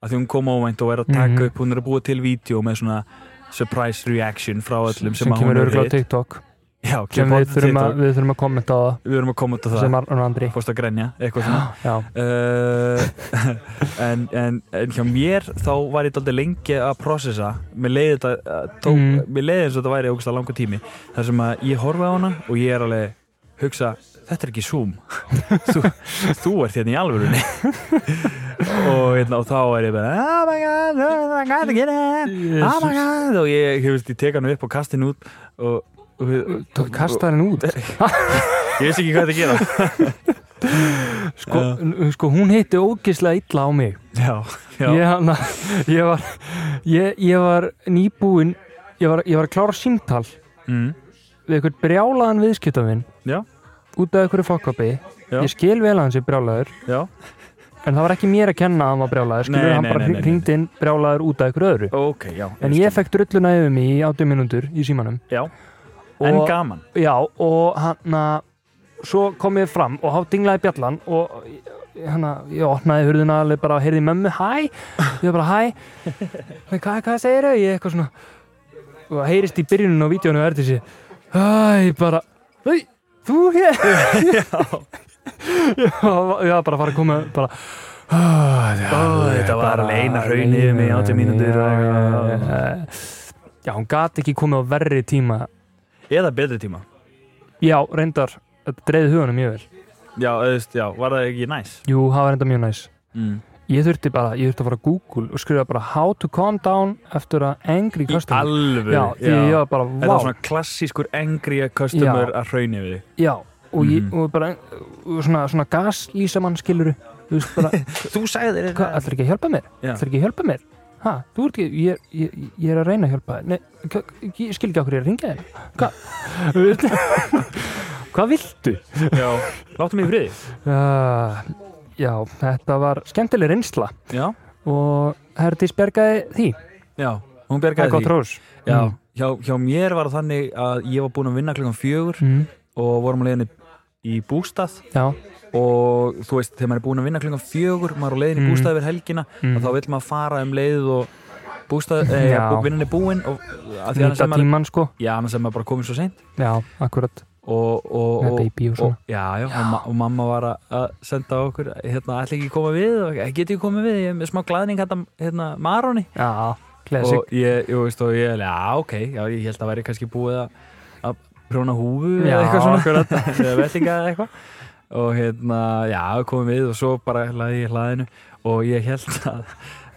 Speaker 1: að því hún kom óvænt og er að taka
Speaker 2: Mhm.
Speaker 1: upp hún er að búa til vídeo með svona surprise reaction frá öllum sem,
Speaker 2: sem
Speaker 1: að hún
Speaker 2: kemur
Speaker 1: er
Speaker 2: örgulega á
Speaker 1: við.
Speaker 2: TikTok
Speaker 1: Já,
Speaker 2: sem
Speaker 1: kemur
Speaker 2: við þurfum,
Speaker 1: TikTok.
Speaker 2: að, við þurfum að kommenta á það
Speaker 1: við erum að koma út á
Speaker 2: sem
Speaker 1: það
Speaker 2: Arnur Andri
Speaker 1: fórst að grenja,
Speaker 2: *gasps*
Speaker 1: eitthvað svona
Speaker 2: já,
Speaker 1: uh, *laughs* en, en, en hjá mér þá var ég daldið lengi að processa mér leiði þetta eh, tók,
Speaker 2: Mm.
Speaker 1: mér leiði eins og þetta væri ógust að langa tími þar sem að ég horfi á hana og ég er alveg hugsa, þetta er ekki Zoom *laughs* þú, þú ert hérna í alvörunni *laughs* og, hérna, og þá er ég bara oh my god, oh my god, get it oh my god, og ég, ég, veist, ég tek hann upp og kasti hann út og, og,
Speaker 2: þú kastar henni út
Speaker 1: ég veist ekki hvað þetta gera *laughs*
Speaker 2: sko, sko hún heiti ógislega illa á mig
Speaker 1: já, já,
Speaker 2: ég, hana, *laughs* ég var ég, ég var nýbúinn ég var, ég var að klára símtal
Speaker 1: Mm,
Speaker 2: við einhvern brjálaðan viðskiptafinn
Speaker 1: já,
Speaker 2: út af einhverju fokkapi
Speaker 1: Já.
Speaker 2: ég skil vel að hann sé brjálaður
Speaker 1: já
Speaker 2: en það var ekki mér að kenna að hann var brjálaður skilur
Speaker 1: Nei,
Speaker 2: hann
Speaker 1: nei,
Speaker 2: bara
Speaker 1: nei, nei, nei.
Speaker 2: hringdi inn brjálaður út af einhverju öðru
Speaker 1: Ok, já
Speaker 2: en ég fekk drulluna yfir mig í 80 minútur í símanum
Speaker 1: Já, en
Speaker 2: Og-
Speaker 1: gaman
Speaker 2: já og hann svo kom ég fram og há dinglaði bjallan og hana, ég opnaði hurðina alveg bara heyrði mömmu, hæ ég bara hæ "Nei, hvað, hvað segir þau, ég eitthvað svona og það heyrist í byrjunum á vídjónu og er þessi æ, bara æ, þú
Speaker 1: *laughs*
Speaker 2: hér ég var ég var bara að fara að koma bara
Speaker 1: Ó, Þetta var alveg eina hraun yfir mig í 80 mínútur
Speaker 2: já, já, já, já. já, hún gat ekki komið á verri tíma
Speaker 1: Eða betri tíma
Speaker 2: já, reyndar, þetta dreði huganum mjög vel
Speaker 1: Já, eðst, já, var það ekki næs
Speaker 2: jú, það var reyndar mjög næs
Speaker 1: mm.
Speaker 2: ég þurfti bara, ég þurfti að fara að Google og skrifa bara how to calm down eftir að angry customer
Speaker 1: alvöru
Speaker 2: já, því ég var bara,
Speaker 1: Þetta var
Speaker 2: wow,
Speaker 1: svona klassískur engri customer
Speaker 2: Já.
Speaker 1: að hraun yfir þig
Speaker 2: já og ég,
Speaker 1: Mhm.
Speaker 2: og bara, og svona, svona gaslýsamann skiluru, þú veist
Speaker 1: *laughs*
Speaker 2: bara
Speaker 1: Þú sagði þér
Speaker 2: hvað, ætlar ekki að hjálpa mér?
Speaker 1: Já.
Speaker 2: ætlar ekki að hjálpa mér? Ha, þú ert ekki, ég, ég, ég er að reyna að hjálpa þér. Nei, hva- ég skil ekki okkur ég er að ringja þér.
Speaker 1: *laughs*
Speaker 2: Hvað? hvað viltu?
Speaker 1: Já, láttu mig í friði
Speaker 2: Uh, já, þetta var skemmtileg reynsla
Speaker 1: Já,
Speaker 2: og Herdís bjargaði því.
Speaker 1: já, hún
Speaker 2: Það er
Speaker 1: bergaði
Speaker 2: gott
Speaker 1: því
Speaker 2: rós.
Speaker 1: Já, hjá, hjá mér var það þannig að ég var búinn að vinna klukkan fjögur
Speaker 2: Mm,
Speaker 1: og vorum á leiðinni í bústað
Speaker 2: já,
Speaker 1: og þú veist, þegar maður er búinn að vinna klukkan fjögur maður er á leiðin í
Speaker 2: Mm.
Speaker 1: bústað yfir helgina
Speaker 2: Mm.
Speaker 1: og þá vil maður fara um leiðið og bústað, e,
Speaker 2: Já.
Speaker 1: vinnin er búinn og að því annars
Speaker 2: nýta
Speaker 1: er maður,
Speaker 2: tímann sko.
Speaker 1: já, annars er maður bara komið svo seint
Speaker 2: Já, akkurat.
Speaker 1: og, og,
Speaker 2: Með
Speaker 1: og,
Speaker 2: baby og svona.
Speaker 1: já, já, Og, ma og mamma var að- að senda á okkur hérna, ætla ekki að koma við og "Eh, get ég komið við, ég er með smá glæðning hérna, hérna Maroni
Speaker 2: Já, classic.
Speaker 1: og ég, ég veist, og ég, já, ok já, ég held að væri kannski búið að- að prjóna húfu
Speaker 2: Já,
Speaker 1: eða eitthvað svona *laughs* eða vellinga eða eitthvað og hérna, já, komum við og svo bara hlaði ég í hlaðinu og ég held að,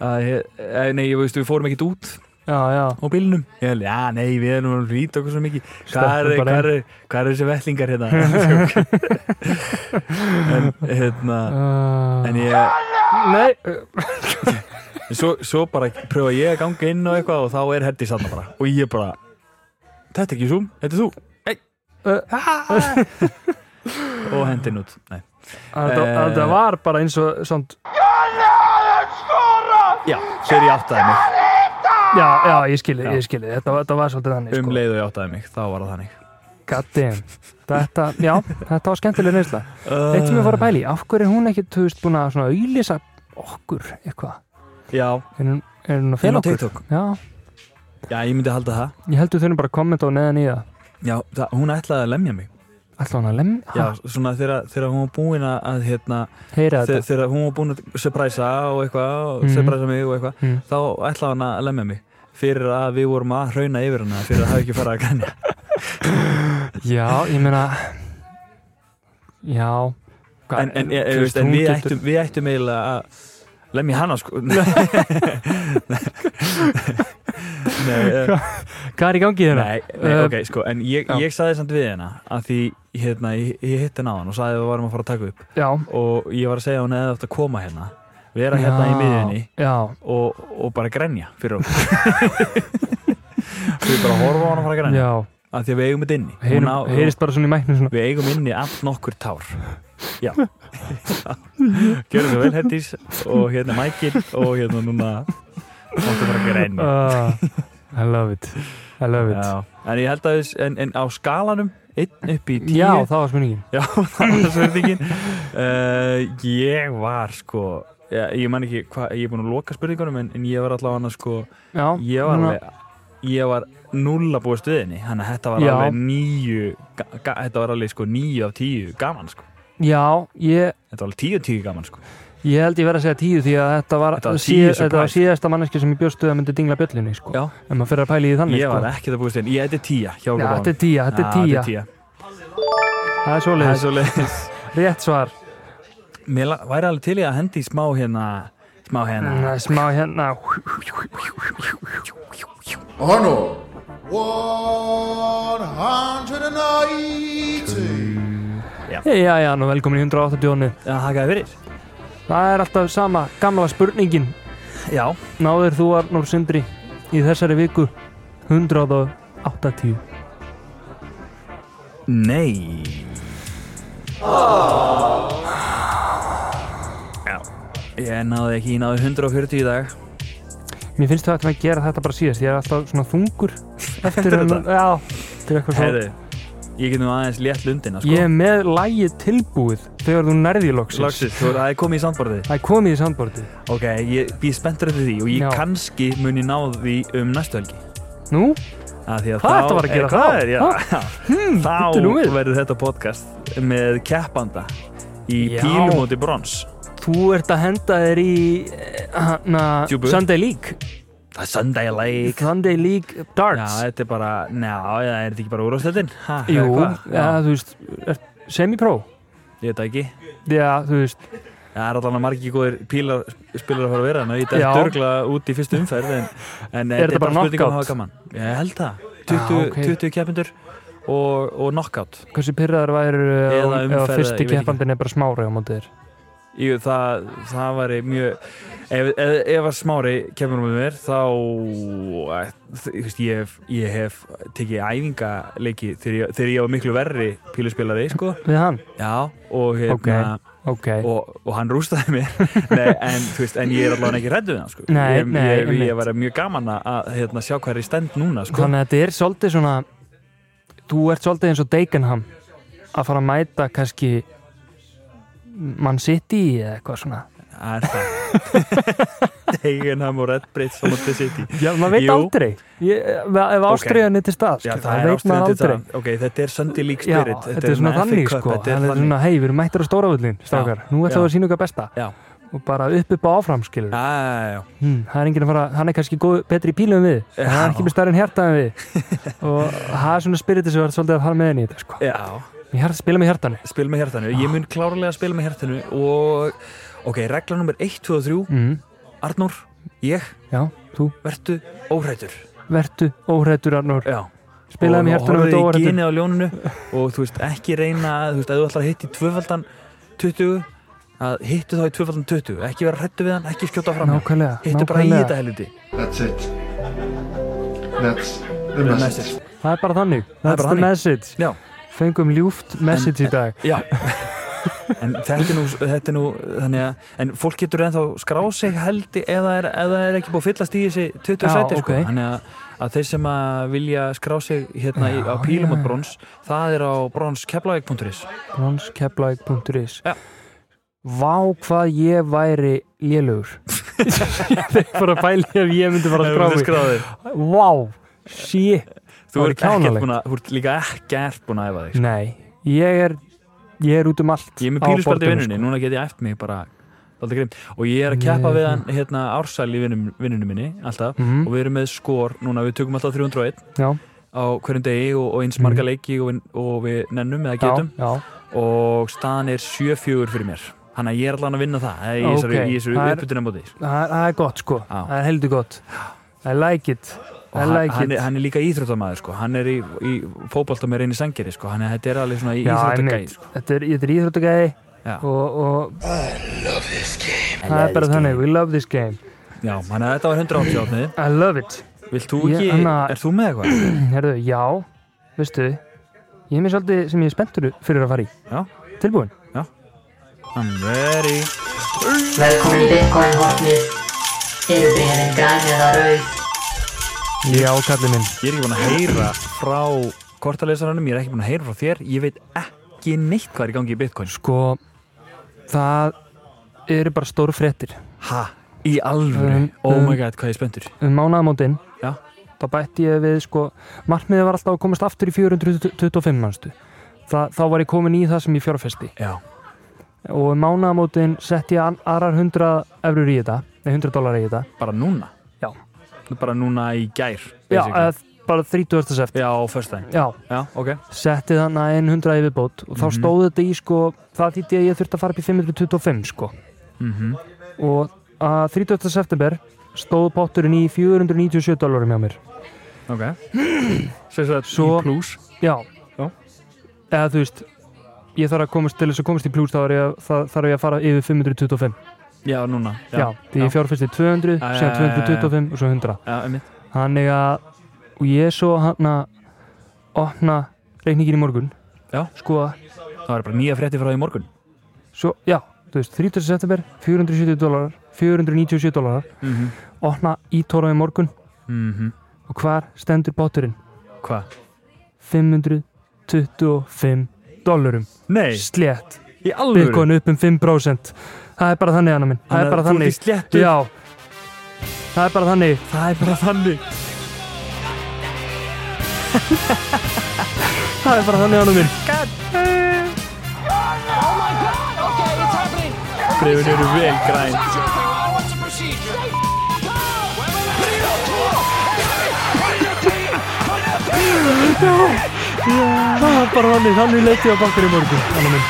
Speaker 1: að eh, nei, ég veist, við fórum ekkert út
Speaker 2: Já, já.
Speaker 1: á bílnum ég held, já, nei, við erum að rýta okkur svo mikið hvað
Speaker 2: Stökkum
Speaker 1: er,
Speaker 2: bara
Speaker 1: hvað er, hvað er þessi vellingar
Speaker 2: *laughs*
Speaker 1: hérna en hérna
Speaker 2: Uh,
Speaker 1: en ég
Speaker 2: nei, uh,
Speaker 1: En svo, svo bara pröfa ég að ganga inn og eitthvað og þá er Heddi sann bara og ég bara þetta er ekki Zoom, þetta er þú
Speaker 2: uh,
Speaker 1: *laughs* og hendi henn út Nei.
Speaker 2: þetta
Speaker 1: Eh.
Speaker 2: þetta var bara eins og samt
Speaker 1: já, svo er ég áttaði mig
Speaker 2: Já, já, ég skilji,
Speaker 1: Já.
Speaker 2: ég skilji, þetta, var- þetta var svolítið þannig
Speaker 1: um
Speaker 2: sko.
Speaker 1: leið og ég áttaði mig, þá var það þannig
Speaker 2: God damn Þetta, já, þetta var skemmtileg reynsla
Speaker 1: Eh.
Speaker 2: Eitt sem ég fór að pæli, af hverju er hún ekki, þú veist, búin að svona auðlýsa okkur eitthvað
Speaker 1: já,
Speaker 2: Er hún, er hún að
Speaker 1: Inn á
Speaker 2: fela okkur?
Speaker 1: TikTok?
Speaker 2: Já,
Speaker 1: já, ég myndi halda það
Speaker 2: ég heldur þunum bara að kommenta á neðan í það
Speaker 1: já, það, hún ætlaði að lemja mig
Speaker 2: Alltaf hún að lemn,
Speaker 1: já, svona þegar, þegar hún var búin að, að hérna,
Speaker 2: heyra
Speaker 1: þegar,
Speaker 2: þetta
Speaker 1: þegar hún var búin að surpræsa og eitthvað, og
Speaker 2: Mhm.
Speaker 1: surpræsa mig og eitthvað
Speaker 2: Mhm.
Speaker 1: þá ætlaði hann að lemja mig fyrir að við vorum að hrauna yfir hana fyrir að hafa ekki farað að grænja
Speaker 2: Já, ég meina Já Hva-
Speaker 1: en, en,
Speaker 2: þú
Speaker 1: ég, ég, veist, en
Speaker 2: hún
Speaker 1: við,
Speaker 2: getur-
Speaker 1: ættum, við ættum eiginlega að lemja hana
Speaker 2: *laughs*
Speaker 1: sko Nei, eh,
Speaker 2: Hvað er í gangi hérna? þeirra?
Speaker 1: nei, nei ok, sko en ég,
Speaker 2: Já.
Speaker 1: ég saði samt við hana að því hérna, ég, ég hitti hana á hann og saði að við varum að fara að taka upp
Speaker 2: Já
Speaker 1: og ég var að segja að hún eða eftir að koma hérna vera hérna í miðjunni
Speaker 2: Já,
Speaker 1: og, og bara grenja fyrir okkur *laughs* við bara horfa á hana að fara að grenja
Speaker 2: já
Speaker 1: að því að við eigum þetta inni Hún á-
Speaker 2: Heyrum- Heyrist bara svona í mæknum svona
Speaker 1: Við eigum inni allt nokkur tár Já Gjörðu svo vel Hettis og hérna Mækil og hérna núna Máttu bara grein
Speaker 2: Ah, I love it I love it
Speaker 1: En ég held að þess, en, en á skalanum einn upp í tíu *laughs*
Speaker 2: Já, það var spurningin
Speaker 1: Já, það Eh, var svörðingin uh, Ég var sko já, ég man ekki hvað, ég er búin að loka spurningunum en, en ég var allavega annars sko
Speaker 2: já,
Speaker 1: ég var
Speaker 2: núna-
Speaker 1: alveg ég var null að búa stuðinni þannig að þetta var
Speaker 2: Já.
Speaker 1: alveg níu ga, ga, þetta var alveg sko níu af tíu gaman sko
Speaker 2: já, ég,
Speaker 1: þetta var alveg tíu af tíu gaman sko
Speaker 2: ég held ég verið að segja tíu því að þetta var,
Speaker 1: Þetta var
Speaker 2: síð-
Speaker 1: tíu
Speaker 2: þetta var
Speaker 1: surprise.
Speaker 2: síðasta manneski sem ég bjóstu að myndi dingla bjöllinu sko.
Speaker 1: Já.
Speaker 2: en maður fyrir að pæla í því þannig
Speaker 1: ég var
Speaker 2: sko.
Speaker 1: ekki að búa stuðinni, ég þetta er tíja hjá
Speaker 2: já,
Speaker 1: okkur
Speaker 2: þetta
Speaker 1: báðum.
Speaker 2: er tíja, þetta
Speaker 1: Já,
Speaker 2: er tíja,
Speaker 1: tíja
Speaker 2: það er
Speaker 1: það
Speaker 2: svoleiðis
Speaker 1: er svo leiðis
Speaker 2: rétt svar,
Speaker 1: mér la- væri alveg til í að hendi í smá hérna smá hérna
Speaker 2: Næ, smá hérna
Speaker 5: Honor 180.
Speaker 2: já, já, nú velkomin í 180
Speaker 1: já, hakaði fyrir
Speaker 2: það er alltaf sama gamla spurningin
Speaker 1: já,
Speaker 2: náður þú Arnór Sindri í þessari viku 180
Speaker 1: nei já ég náði ekki, ég náði 140 í dag
Speaker 2: Mér finnst það að gera þetta bara síðast, ég er alltaf svona þungur eftir
Speaker 1: Eftir *laughs* þetta?
Speaker 2: Já, til eitthvað
Speaker 1: Heyrðu,
Speaker 2: svona.
Speaker 1: ég get nú aðeins létt lundina sko.
Speaker 2: Ég er með lægið tilbúið þegar þú nærði loksins.
Speaker 1: Loksins, þú- það er komið í sandborðið
Speaker 2: Það er komið í sandbortið.
Speaker 1: Ok, ég býð spenntur eftir því og ég
Speaker 2: Já.
Speaker 1: kannski muni ná því um næstu helgi
Speaker 2: Nú,
Speaker 1: Af því að þá-
Speaker 2: Hvað ertu að fara að gera
Speaker 1: Eh, hvað
Speaker 2: þá?
Speaker 1: Er, já, *laughs* hmm,
Speaker 2: bíddu nú við.
Speaker 1: þá verður þetta podcast með keppanda í
Speaker 2: Já.
Speaker 1: pílumóti brons
Speaker 2: þú ert að henda þér í eh, hana,
Speaker 1: Djúpu.
Speaker 2: Sunday League.
Speaker 1: Það er Sunday League
Speaker 2: Sunday League
Speaker 1: Já,
Speaker 2: Darts.
Speaker 1: þetta er bara, njá, já, er þetta ekki bara úrvastöldin?
Speaker 2: Jú,
Speaker 1: já,
Speaker 2: ja, þú veist, er- semi-pro.
Speaker 1: ég veit það ekki
Speaker 2: Já, þú veist,
Speaker 1: Það er allan að margi góðir pílar spilar að fara að vera þannig að ég
Speaker 2: Já.
Speaker 1: dætt örgla út í fyrstu umferð en, en
Speaker 2: Er þetta
Speaker 1: spurning
Speaker 2: bara
Speaker 1: um að
Speaker 2: knockout?
Speaker 1: hafa gaman Ég held það, 20,
Speaker 2: Ah, ok.
Speaker 1: 20 keppindur og, og knockout
Speaker 2: hversu pyrraðar væri
Speaker 1: Eða
Speaker 2: eða
Speaker 1: umferð,
Speaker 2: fyrsti
Speaker 1: ég veit ekki.
Speaker 2: keppandinn er bara smári á mótið þér.
Speaker 1: Jú, það, það væri mjög ef, ef, ef að smári kemur með mér þá eh, þú veist, ég, hef, ég hef tekið æfingaleiki þegar ég, þegar ég var miklu verri píluspilari sko.
Speaker 2: Við hann?
Speaker 1: Já, og hérna
Speaker 2: Ok. Ok.
Speaker 1: og, og hann rústaði mér *laughs* nei, en, þú veist, en ég er allavega ekki reddu við hann sko.
Speaker 2: Nei,
Speaker 1: ég,
Speaker 2: nei,
Speaker 1: ég,
Speaker 2: einmitt.
Speaker 1: ég var mjög gaman að- að hérna, sjá hvað er í stend núna sko.
Speaker 2: Þannig að þetta er svolítið svona þú ert svolítið eins og Dagenham að fara að mæta kannski Man City eða eitthvað svona
Speaker 1: Það er það *laughs* Degenham og Red Brits á móti City
Speaker 2: Já, maður veit
Speaker 1: Jú.
Speaker 2: aldrei ég, ef ástriðan er til stað
Speaker 1: Já,
Speaker 2: skilur,
Speaker 1: það er
Speaker 2: veit maður
Speaker 1: ástæðan til
Speaker 2: aldrei
Speaker 1: það Ok, þetta er Sunday League
Speaker 2: Já,
Speaker 1: Spirit
Speaker 2: þetta er svona
Speaker 1: FA
Speaker 2: þannig
Speaker 1: Cup,
Speaker 2: sko
Speaker 1: Þetta er
Speaker 2: Þannig
Speaker 1: þannig
Speaker 2: svona, hei, við erum mættir á stóravöllin strákar, nú ætlum
Speaker 1: já.
Speaker 2: við að sína okkar besta
Speaker 1: Já,
Speaker 2: og bara upp upp á áfram skilur
Speaker 1: já, já, já
Speaker 2: hmm, það er enginn að fara, hann er kannski góð, betri í pílu en við en hann er
Speaker 1: Já.
Speaker 2: ekki með starri en hjarta en við
Speaker 1: *laughs*
Speaker 2: og það er svona spiritið sem var svolítið að fara með henni í þetta sko
Speaker 1: Já,
Speaker 2: Ég hjarta- spila með hjartanu
Speaker 1: spil með hjartanu Ég mun klárlega spila með hjartanu og ok, regla nummer 1, 2 og 3
Speaker 2: mm,
Speaker 1: Arnór, ég,
Speaker 2: Já, þú
Speaker 1: vertu óhrættur
Speaker 2: Vertu óhrættur Arnór
Speaker 1: Já
Speaker 2: Spilaði með hjartanu
Speaker 1: og horfðu
Speaker 2: vertu
Speaker 1: í
Speaker 2: óhrættur
Speaker 1: genið á ljóninu og þú veist ekki reyna þú veist að þú ætlar að hitta í tvöfaldan 20 að hittu þá í tvöfaldan 20 ekki vera hrættu við hann, ekki skjóta fram hjá.
Speaker 2: Nákvæmlega,
Speaker 1: hittu bara í
Speaker 2: nákvæmlega.
Speaker 1: þetta helviti
Speaker 5: That's it. That's the
Speaker 1: The
Speaker 5: message.
Speaker 1: message.
Speaker 2: Það er bara þannig
Speaker 1: er
Speaker 2: That's
Speaker 1: bara
Speaker 2: the
Speaker 1: þannig.
Speaker 2: message
Speaker 1: já,
Speaker 2: Fengum ljúft message í
Speaker 1: *laughs*
Speaker 2: dag
Speaker 1: já en þetta er nú, þetta er nú þannig að, en fólk getur ennþá skrá sig heldi eða er, eða er ekki búið að fyllast í þessi 20
Speaker 2: Já,
Speaker 1: sæti sko.
Speaker 2: ok.
Speaker 1: þannig að, að þeir sem að vilja skrá sig hérna í, á
Speaker 2: Já,
Speaker 1: pílum
Speaker 2: já.
Speaker 1: og brons það er á bronskeflavík.is
Speaker 2: Bronskeplæk.is
Speaker 1: Já.
Speaker 2: Vá hvað ég væri lélugur
Speaker 1: *laughs*
Speaker 2: Þeir bara pæli ef ég myndi bara skráfi
Speaker 1: skráði
Speaker 2: Vá, shit
Speaker 1: Þú
Speaker 2: Það
Speaker 1: ert,
Speaker 2: er
Speaker 1: ekkert
Speaker 2: kjánalegt.
Speaker 1: búin að, þú ert líka ekkert búin að æfa þig sko.
Speaker 2: Nei, ég er Ég er út um allt
Speaker 1: Ég er með
Speaker 2: á
Speaker 1: píluspjaldi í
Speaker 2: borðinu,
Speaker 1: vinnunni, núna get ég eftir mig bara alltaf grimm og ég er að keppa
Speaker 2: Nei.
Speaker 1: við hann hérna ársæl í vinnunum, vinnunum minni alltaf
Speaker 2: Mhm.
Speaker 1: og við erum með skor núna, við tökum alltaf 301
Speaker 2: sko. Já,
Speaker 1: á hverjum degi og, og eins marga leiki og, við- og við nennum eða
Speaker 2: Mhm. já,
Speaker 1: getum
Speaker 2: já
Speaker 1: og staðan er 7-4 fyrir mér þannig að ég er allan að vinna það það er í þessari,
Speaker 2: Ok,
Speaker 1: okay. þessari
Speaker 2: það er-
Speaker 1: uppbytuna móti sko.
Speaker 2: Það er- það er gott sko
Speaker 1: Já.
Speaker 2: Það er heldur gott I like it
Speaker 1: og
Speaker 2: I
Speaker 1: hann,
Speaker 2: like
Speaker 1: hann,
Speaker 2: it
Speaker 1: er, hann er líka íþróttamæður sko. hann er í, í fótbolta með reyni sangeri sko. hann er, þetta er alveg svona í
Speaker 2: Já,
Speaker 1: íþróttagæði
Speaker 2: einmitt.
Speaker 1: sko.
Speaker 2: Þetta er, þetta er íþróttagæði
Speaker 1: Já.
Speaker 2: og, og það er bara þannig, we love this game
Speaker 1: Já, þannig að þetta var 180 átnið
Speaker 2: I love it
Speaker 1: Vilt þú
Speaker 2: Ég-
Speaker 1: ekki,
Speaker 2: hana-
Speaker 1: er þú með eitthvað?
Speaker 2: Herðu, já, veistu ég er mér svolítið sem ég er spenntur fyrir að fara í
Speaker 1: Já.
Speaker 2: Tilbúin?
Speaker 1: I'm ready
Speaker 6: Velkomin í Bitcoin hotnið Eru brefin græn eða rauð?
Speaker 2: Já, kallið minn
Speaker 1: Ég er ekki búin að heyra frá kortalesaranum, ég er ekki búin að heyra frá þér Ég veit ekki neitt hvað er í gangi í Bitcoin
Speaker 2: Sko, það eru bara stóru fréttir
Speaker 1: Ha? Í alvöru?
Speaker 2: Um,
Speaker 1: oh my
Speaker 2: um.
Speaker 1: god, hvað ég er spenntur
Speaker 2: um mánaðamótin
Speaker 1: Já.
Speaker 2: þá bætti ég við sko markmiðið var alltaf að komast aftur í 425 mannstu Þa, þá var ég komin í það sem ég fjárfesti
Speaker 1: Já,
Speaker 2: og um mánaðamótin sett ég an- aðrar 100 eurur í þetta nei 100 dólar í þetta
Speaker 1: bara núna
Speaker 2: Já.
Speaker 1: Bara núna í gær
Speaker 2: já,
Speaker 1: basically.
Speaker 2: eða bara 30. seft
Speaker 1: Já, á föstudaginn
Speaker 2: já,
Speaker 1: Já, ok
Speaker 2: setti þannig að 100 yfirbót og þá
Speaker 1: Mhm.
Speaker 2: stóð þetta í sko það þýtti að ég þurfti að fara upp í 525 sko
Speaker 1: mm
Speaker 2: og að 30. september stóð potturinn í 497 dólarum hjá mér *gasps*
Speaker 1: Ok Svo svo
Speaker 2: Svo-
Speaker 1: í plus
Speaker 2: Já.
Speaker 1: Já.
Speaker 2: Eða þú veist, ég þarf að komast til þess að komast í plús þá er ég að- þá þarf ég að fara yfir 525.
Speaker 1: Já, núna
Speaker 2: Já. því ég fjárfyrst í 200,
Speaker 1: Já, já,
Speaker 2: síðan
Speaker 1: já, já, já.
Speaker 2: 225 og svo 100.
Speaker 1: Já, einmitt
Speaker 2: Þannig að, og ég svo hann að opna reikningin í morgun.
Speaker 1: Já.
Speaker 2: Sko,
Speaker 1: Það var bara nýja frétti frá því í morgun
Speaker 2: svo, já, þú veist, 30. september, 470 dólarar, 497 dólarar,
Speaker 1: mm -hmm.
Speaker 2: opna í tóra í morgun
Speaker 1: Mhm.
Speaker 2: og hvar stendur báturinn?
Speaker 1: Hva?
Speaker 2: 525 dólarum.
Speaker 1: Nei,
Speaker 2: Slétt.
Speaker 1: í alvöru
Speaker 2: Bitcoin upp um 5% Það er bara þannig, Anna minn Það er bara
Speaker 1: Þú
Speaker 2: þannig
Speaker 1: ert í sléttu
Speaker 2: Já Það er bara þannig
Speaker 1: Það er bara þannig
Speaker 2: Það er bara þannig, Anna minn
Speaker 4: Oh my God! Okay, it's happening.
Speaker 1: Brefin eru vel græn
Speaker 4: Procedure, everyone. What's the procedure? Stay calm. Put it up to him. Put it up to him. Put it up to him.
Speaker 2: Það er bara þannig Þannig leit ég á bankar í morgun, Anna minn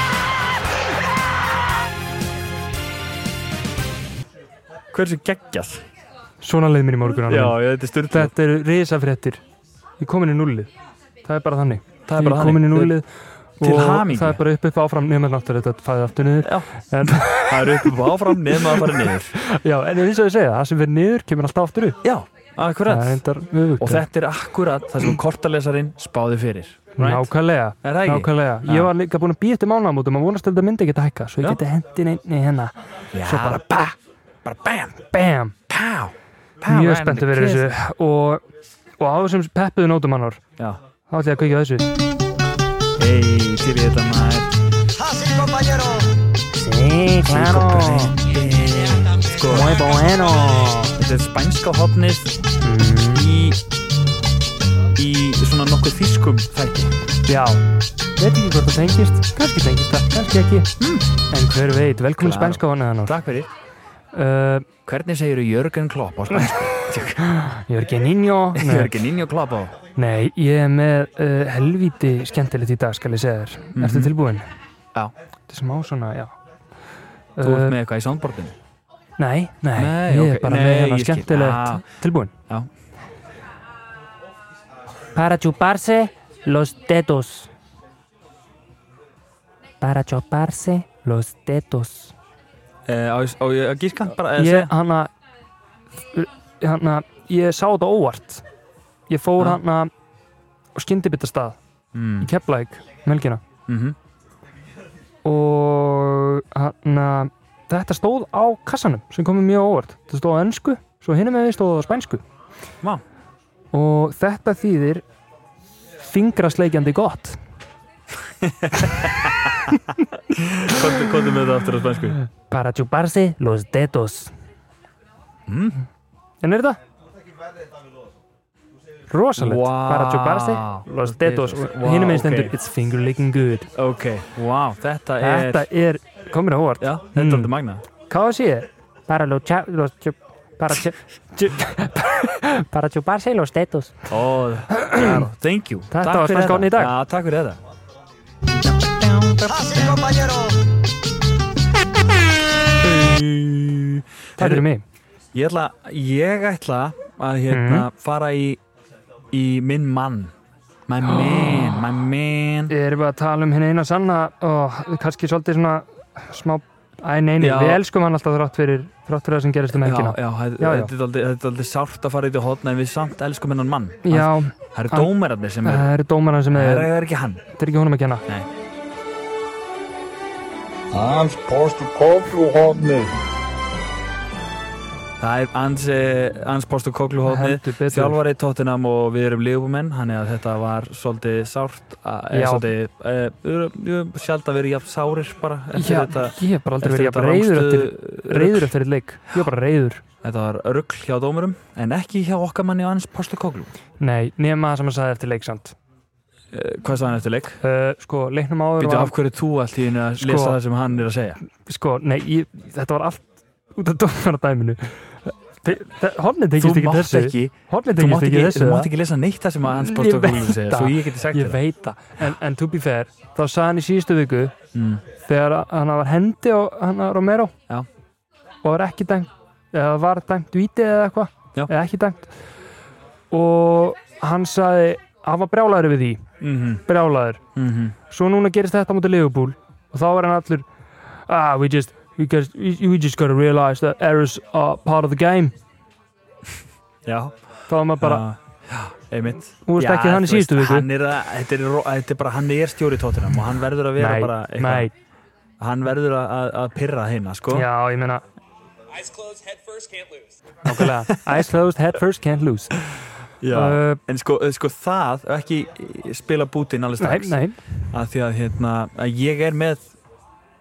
Speaker 1: Hversu geggjað
Speaker 2: Svona leið mér í morgun, Anna
Speaker 1: Já,
Speaker 2: minn
Speaker 1: já, þetta er styrla
Speaker 2: Þetta eru risafréttir Ég er komin í nullið Það er bara þannig
Speaker 1: Það er bara
Speaker 2: Ég er komin í
Speaker 1: þannig.
Speaker 2: nullið
Speaker 1: Til
Speaker 2: og
Speaker 1: hamingju.
Speaker 2: Það er bara upp upp áfram nema náttúrulega þetta fæði aftur niður
Speaker 1: Já.
Speaker 2: en, *laughs*
Speaker 1: Það eru upp og áfram nema að fara niður
Speaker 2: já, en eins og ég segja, það sem verður niður kemur alltaf aftur upp
Speaker 1: Já, akkurat
Speaker 2: Það er endar öfugt.
Speaker 1: Og þetta er akkurat það sem kortalesarin spáði fyrir right?
Speaker 2: Nákvæmlega,
Speaker 1: Er það ekki?
Speaker 2: nákvæmlega. Ég
Speaker 1: Já.
Speaker 2: var líka búinn að býja eftir mánaðamótum að vonast að þetta myndi ekki að hækka svo ég
Speaker 1: Já.
Speaker 2: geti hendin inn í hérna
Speaker 1: Já,
Speaker 2: Svo bara
Speaker 1: ba Bara bam
Speaker 2: Bam!
Speaker 1: Pá Ah,
Speaker 2: Mjög spennt að vera þessu og, og á þessum peppuðu nótum annar
Speaker 1: Já
Speaker 2: þá ætlum ég að kveikja á þessu
Speaker 1: Ey, til ég þetta maður
Speaker 2: Sí, claro
Speaker 1: Sko,
Speaker 2: bueno
Speaker 1: þetta er spænska hotnið í, í svona nokkuð þýskum þætti.
Speaker 2: Já, veit ekki hvort það tengist kannski tengist það, kannski ekki
Speaker 1: Hmm.
Speaker 2: en hver veit, velkomin
Speaker 1: Claro.
Speaker 2: spænska vonið annar
Speaker 1: Takk fyrir.
Speaker 2: uh,
Speaker 1: Hvernig segiru Jörgen Klopp á
Speaker 2: *laughs*
Speaker 1: spænsku?
Speaker 2: Jörgeninho
Speaker 1: *laughs* Jörgen Injo Klopp á.
Speaker 2: Nei, ég er með uh, helvíti skemmtilegt í dag, skal ég segja þér. Ertu tilbúin?
Speaker 1: Mhm. Já.
Speaker 2: Þetta er smá svona, já.
Speaker 1: Þú
Speaker 2: Eh,
Speaker 1: ert með eitthvað í soundboardinu.
Speaker 2: Nei, nei,
Speaker 1: Nei,
Speaker 2: ég er
Speaker 1: ok,
Speaker 2: bara
Speaker 1: nei,
Speaker 2: með hérna
Speaker 1: ég skil.
Speaker 2: skemmtilegt.
Speaker 1: Ah.
Speaker 2: Tilbúin?
Speaker 1: Já.
Speaker 2: Para chuparse los dedos. Para chuparse los dedos.
Speaker 1: Uh, á, ég- á ég að gíska? Bara eh, að
Speaker 2: Ég,
Speaker 1: segja?
Speaker 2: hana, hana, ég sá þetta óvart. Ég fór
Speaker 1: Ah.
Speaker 2: hana á skyndibitastað
Speaker 1: Mm.
Speaker 2: í um Keflæk, melgina.
Speaker 1: mhm.
Speaker 2: og hann að þetta stóð á kassanum sem komið mjög á óvart þetta stóð á ennsku, svo hinum með því stóð það á spænsku
Speaker 1: Vá.
Speaker 2: og þetta þýðir fingrasleikjandi gott
Speaker 1: Komdu, komdu með þetta aftur á spænsku.
Speaker 2: para chuparse los dedos
Speaker 1: Mm.
Speaker 2: en er þetta? rosalegt
Speaker 1: Vá.
Speaker 2: para chuparse los
Speaker 1: Dedos.
Speaker 2: dedos og
Speaker 1: Vá,
Speaker 2: hinum með því stendur
Speaker 1: ok.
Speaker 2: it's finger licking good
Speaker 1: Ok, wow, þetta
Speaker 2: Eh.
Speaker 1: er...
Speaker 2: þetta er, komið á óvart
Speaker 1: Já, þetta er
Speaker 2: Mm.
Speaker 1: aldrei magna.
Speaker 2: KFC para los cha- los chu- para chu- chu- para chuparse los tetos
Speaker 1: Ó, claro, thank you.
Speaker 2: Þetta
Speaker 1: Takk
Speaker 2: var
Speaker 1: fyrir
Speaker 2: spænska orðin í dag.
Speaker 1: Já, takk fyrir þetta.
Speaker 2: Takk fyrir mig
Speaker 1: Ég ætla, ég ætla að hérna, fara í, í minn mann. My man, my man.
Speaker 2: Erum við að tala um henni eina sanna og kannski svolítið svona smá Æ, nei, nei,
Speaker 1: Já.
Speaker 2: við elskum hann alltaf þrátt fyrir þrátt fyrir það sem gerist um helgina
Speaker 1: Já, já, þetta-
Speaker 2: Já, já.
Speaker 1: þetta er aldrei- þetta er aldrei sárt að fara í því hotna en við samt elskum hennan mann.
Speaker 2: Já,
Speaker 1: Það eru
Speaker 2: Hann-
Speaker 1: dómerarnir sem
Speaker 2: það
Speaker 1: eru.
Speaker 2: eru dómarna sem
Speaker 1: Það
Speaker 2: er
Speaker 1: er ekki hann.
Speaker 2: Þetta er ekki honum að kenna
Speaker 1: Nei.
Speaker 7: I'm supposed to call you, Hodney.
Speaker 1: Það er ans, eh, ans Postu Koglu hóðnið,
Speaker 2: Heldur betur.
Speaker 1: þjálfari Tottenham og við erum lífumenn, þannig að þetta var svolítið sárt, að- eh,
Speaker 2: Já.
Speaker 1: svolítið, eh, við erum- við erum sjálf að vera jafn sárir bara eftir
Speaker 2: Já,
Speaker 1: þetta.
Speaker 2: ég hef bara aldrei
Speaker 1: eftir þetta
Speaker 2: verið jafn reyður eftir,
Speaker 1: rangstöðu-
Speaker 2: reyður eftir eitt leik ég er bara reyður
Speaker 1: Þetta var rugl hjá dómurum, en ekki hjá okkar manni og Ans Postu Koglu.
Speaker 2: nei, nema það sem hann sagði eftir leiksand
Speaker 1: E, Hvað sagði hann eftir leik?
Speaker 2: uh, sko, leiknum áður
Speaker 1: Býtu,
Speaker 2: var-
Speaker 1: af hverju þú allt í henni að
Speaker 2: Sko-
Speaker 1: lesa það sem hann er að segja?
Speaker 2: sko, nei, ég, þetta var allt út af dómaradæminu Hornin
Speaker 1: Þú
Speaker 2: tengist ekki
Speaker 1: mátt
Speaker 2: þessu
Speaker 1: ekki,
Speaker 2: Hornin
Speaker 1: þú mátt
Speaker 2: tengist ekki
Speaker 1: ekki,
Speaker 2: þessu
Speaker 1: þú mátt
Speaker 2: eða?
Speaker 1: ekki lesa neitt það sem að Hans
Speaker 2: Ég
Speaker 1: Postu Koglu
Speaker 2: veit
Speaker 1: segja,
Speaker 2: það.
Speaker 1: svo ég geti sagt
Speaker 2: Ég
Speaker 1: þér það.
Speaker 2: veit það, en, en to be fair þá sagði hann í síðustu viku
Speaker 1: Mm.
Speaker 2: þegar hann var hendi og hann var Romero
Speaker 1: Já.
Speaker 2: og var ekki dæmt eða var dæmt vítið eða eitthvað
Speaker 1: Já.
Speaker 2: eða ekki dæmt og hann sagði hann var brjálaður við því,
Speaker 1: Mhm,
Speaker 2: brjálaður
Speaker 1: mhm.
Speaker 2: svo núna gerist þetta mútið Liverpool og þá er hann allur ah, we just, we just, we just gotta realize that errors are part of the game
Speaker 1: Já,
Speaker 2: þá er maður bara,
Speaker 1: já, já, einmitt.
Speaker 2: hún veist
Speaker 1: Já,
Speaker 2: ekki hann í
Speaker 1: þú veist,
Speaker 2: síðustu viku
Speaker 1: hann er, að, þetta, er, ro- þetta er bara, hann er stjóri tóttunum og hann verður að vera bara
Speaker 2: nei,
Speaker 1: hann verður að, að- að pyrra hérna sko.
Speaker 2: já, ég meina
Speaker 7: Eyes closed, head first, can't lose.
Speaker 2: nákvæmlega, eyes closed, head first, can't lose
Speaker 1: *laughs*
Speaker 2: uh,
Speaker 1: en sko, sko það og ekki spila bútinn alveg
Speaker 2: nei,
Speaker 1: strax
Speaker 2: nei,
Speaker 1: að því að, hérna, að ég er með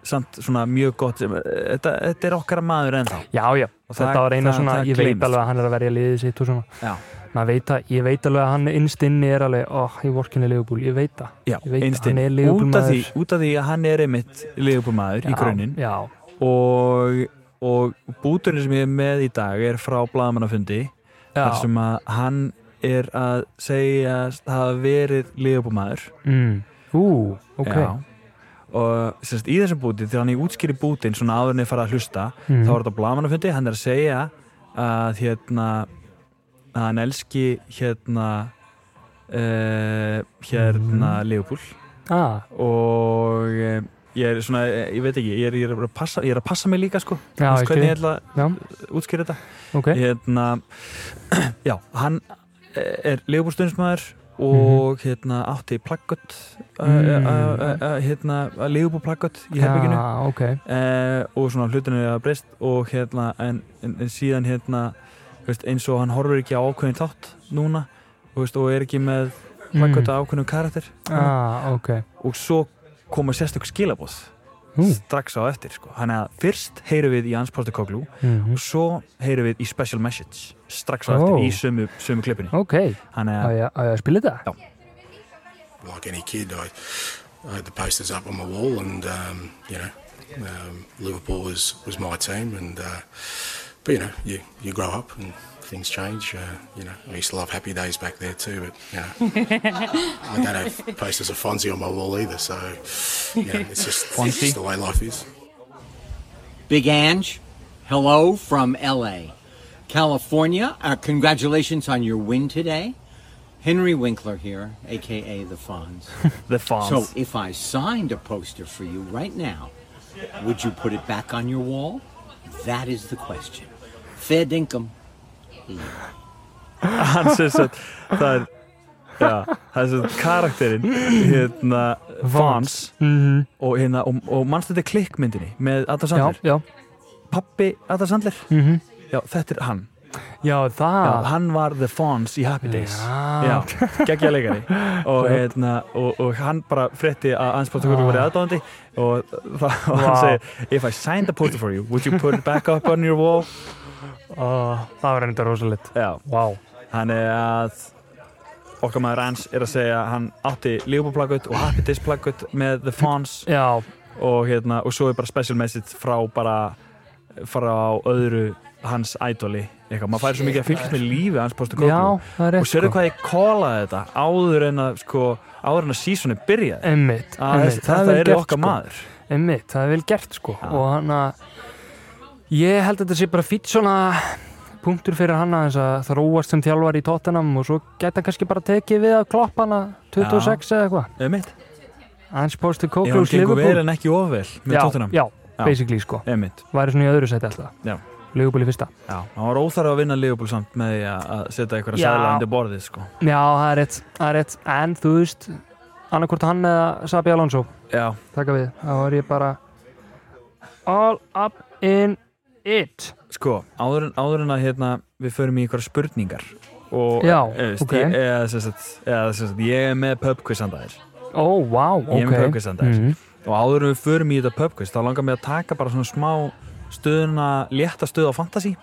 Speaker 1: samt svona mjög gott sem, eh, þetta, þetta er okkar maður ennþá
Speaker 2: já, já þetta var eina svona, ég veit alveg að hann er að verja liðið sitt og svona
Speaker 1: Já.
Speaker 2: Maður veit að, ég veit alveg að hann innst inni er alveg, oh, ég vorkinni Leopold, ég veit það
Speaker 1: Já,
Speaker 2: ég veit að
Speaker 1: einstinn,
Speaker 2: hann er
Speaker 1: út af, því,
Speaker 2: Liverpool-maður.
Speaker 1: út af því að hann er einmitt liðbúmaður í
Speaker 2: Já,
Speaker 1: grunninn
Speaker 2: já,
Speaker 1: og, og búturinn sem ég er með í dag er frá blaðamannafundi þar
Speaker 2: já.
Speaker 1: sem að hann er að segja að hafa verið liðbúmaður
Speaker 2: Mm. ú, ok
Speaker 1: og sérst, í þessum búti þegar hann í útskýri bútin svona áður en ég fara að hlusta
Speaker 2: Mm.
Speaker 1: þá er þetta blamanufundi, hann er að segja að hérna að hann elski hérna uh, hérna
Speaker 2: Mhm.
Speaker 1: mm.
Speaker 2: ah,
Speaker 1: og eh, ég er svona, eh, ég veit ekki ég er, ég er, að, passa, ég er að passa mig líka sko
Speaker 2: Já,
Speaker 1: Þú veist hvernig
Speaker 2: ég skil.
Speaker 1: ég ætla
Speaker 2: Já.
Speaker 1: að útskýra þetta
Speaker 2: ok
Speaker 1: hérna, *clears throat* já, hann er leifbúrstundismæður og hérna átti plaggött
Speaker 2: Mhm. Mm.
Speaker 1: hérna leifbúrplaggött í herbygginu
Speaker 2: Já, ok
Speaker 1: uh, og svona hlutinu er að breyst og hérna, en, en, en síðan hérna, þú veist, eins og hann horfir ekki á ákveðin þátt núna þú veist, og er ekki með plaggött
Speaker 2: mm.
Speaker 1: mm. ákveðinu karakter
Speaker 2: ah, ok
Speaker 1: og svo koma sérstök skilabóð
Speaker 2: Ú.
Speaker 1: strax á eftir, sko hann að fyrst heyrum við í Hans Portakoglu
Speaker 2: mm.
Speaker 1: og svo heyrum við í Special Message strax á
Speaker 2: Ó.
Speaker 1: eftir í sömu, sömu klippinni
Speaker 2: ok,
Speaker 1: þannig
Speaker 2: á
Speaker 1: að
Speaker 2: ég á ég að spila þetta?
Speaker 8: like any kid, I, I had the posters up on my wall, and um, you know, um, Liverpool was, was my team. And uh, but you know, you, you grow up and things change. Uh, you know, I used to love Happy Days back there too, but you know, I don't have posters of Fonzie on my wall either. So you know, it's just, it's just the way life is.
Speaker 9: Big Ange, hello from LA. California, uh, congratulations on your win today. Henry Winkler here, aka The Fonz.
Speaker 1: The Fonz
Speaker 9: So, if I signed a poster for you right now, would you put it back on your wall? That is the question. Fair dinkum.
Speaker 1: hann sem sagt það er já, það er sem sagt karakterinn hérna Vons
Speaker 2: Mhm.
Speaker 1: og hérna og, og mannst þetta klikkmyndinni með Adam
Speaker 2: já,
Speaker 1: Sandler,
Speaker 2: já, Mhm.
Speaker 1: pappi Adam Sandler -hmm. já, þetta er hann
Speaker 2: já,
Speaker 1: já,
Speaker 2: það
Speaker 1: hann var The Fonz í Happy Days
Speaker 2: Já.
Speaker 1: já geggja
Speaker 2: *laughs*
Speaker 1: leikari og hérna og, og hann bara frétti að hans protokollu voru aðdóðandi og, það, *laughs* og hann
Speaker 2: Ah. Vá.
Speaker 1: segir if I signed the poster for you, would you put it back up on your wall
Speaker 2: ah, það var enda rosalegt
Speaker 1: já,
Speaker 2: wow.
Speaker 1: Þannig að okkar maður Rans er að segja að hann átti Liverpool-plaggött og Happy Days-plaggött með The Fonz
Speaker 2: já,
Speaker 1: og, hérna, og svo er bara special message frá bara frá öðru hans idoli eitthvað, maður fær svo mikið að fylgjast með lífi hans postu
Speaker 2: já, það er rétt
Speaker 1: og sérðu
Speaker 2: sko.
Speaker 1: hvað ég kólaði þetta áður en að sko, áður en að seasoni byrjaði
Speaker 2: Einmitt,
Speaker 1: að
Speaker 2: einmitt,
Speaker 1: þetta, þetta er okkar maður
Speaker 2: sko. Einmitt, það er vel gert sko og hann að ég held að þetta sé bara fýtt svona punktur fyrir hann aðeins að þróast sem þjálfar í Tottenham og svo gæti hann kannski bara tekið við að kloppa hana 26 eða eitthvað
Speaker 1: eða mitt,
Speaker 2: Hans Pósti
Speaker 1: ef hann
Speaker 2: Kóklós
Speaker 1: gengur
Speaker 2: Liverpool
Speaker 1: vel en ekki ofvel með
Speaker 2: já,
Speaker 1: tóttunum,
Speaker 2: já, basically sko
Speaker 1: eða mitt
Speaker 2: væri svona í öðru seti alltaf
Speaker 1: Já.
Speaker 2: Liverpool í fyrsta
Speaker 1: já, hann var óþarf að vinna Liverpool samt með því að að setja einhverja
Speaker 2: Já.
Speaker 1: sæla undir borðið sko
Speaker 2: já, það er rétt, það er rétt en þú veist, annarkvort hann eða Sabi Alonso,
Speaker 1: já,
Speaker 2: taka við þá er ég bara all up in it
Speaker 1: Sko, áður, en- áður en að hérna, við förum í einhverja spurningar og
Speaker 2: Já,
Speaker 1: eh, veist,
Speaker 2: ok.
Speaker 1: ég, eða, sem sagt, eða, sem sagt, ég er með pubquiz handa þér
Speaker 2: oh wow,
Speaker 1: ég er með
Speaker 2: ok Mhm.
Speaker 1: pubquiz handa þér og áður en við förum í þetta pubquiz þá langar mig að taka bara svona smá stöðuna, létta stöð á fantasy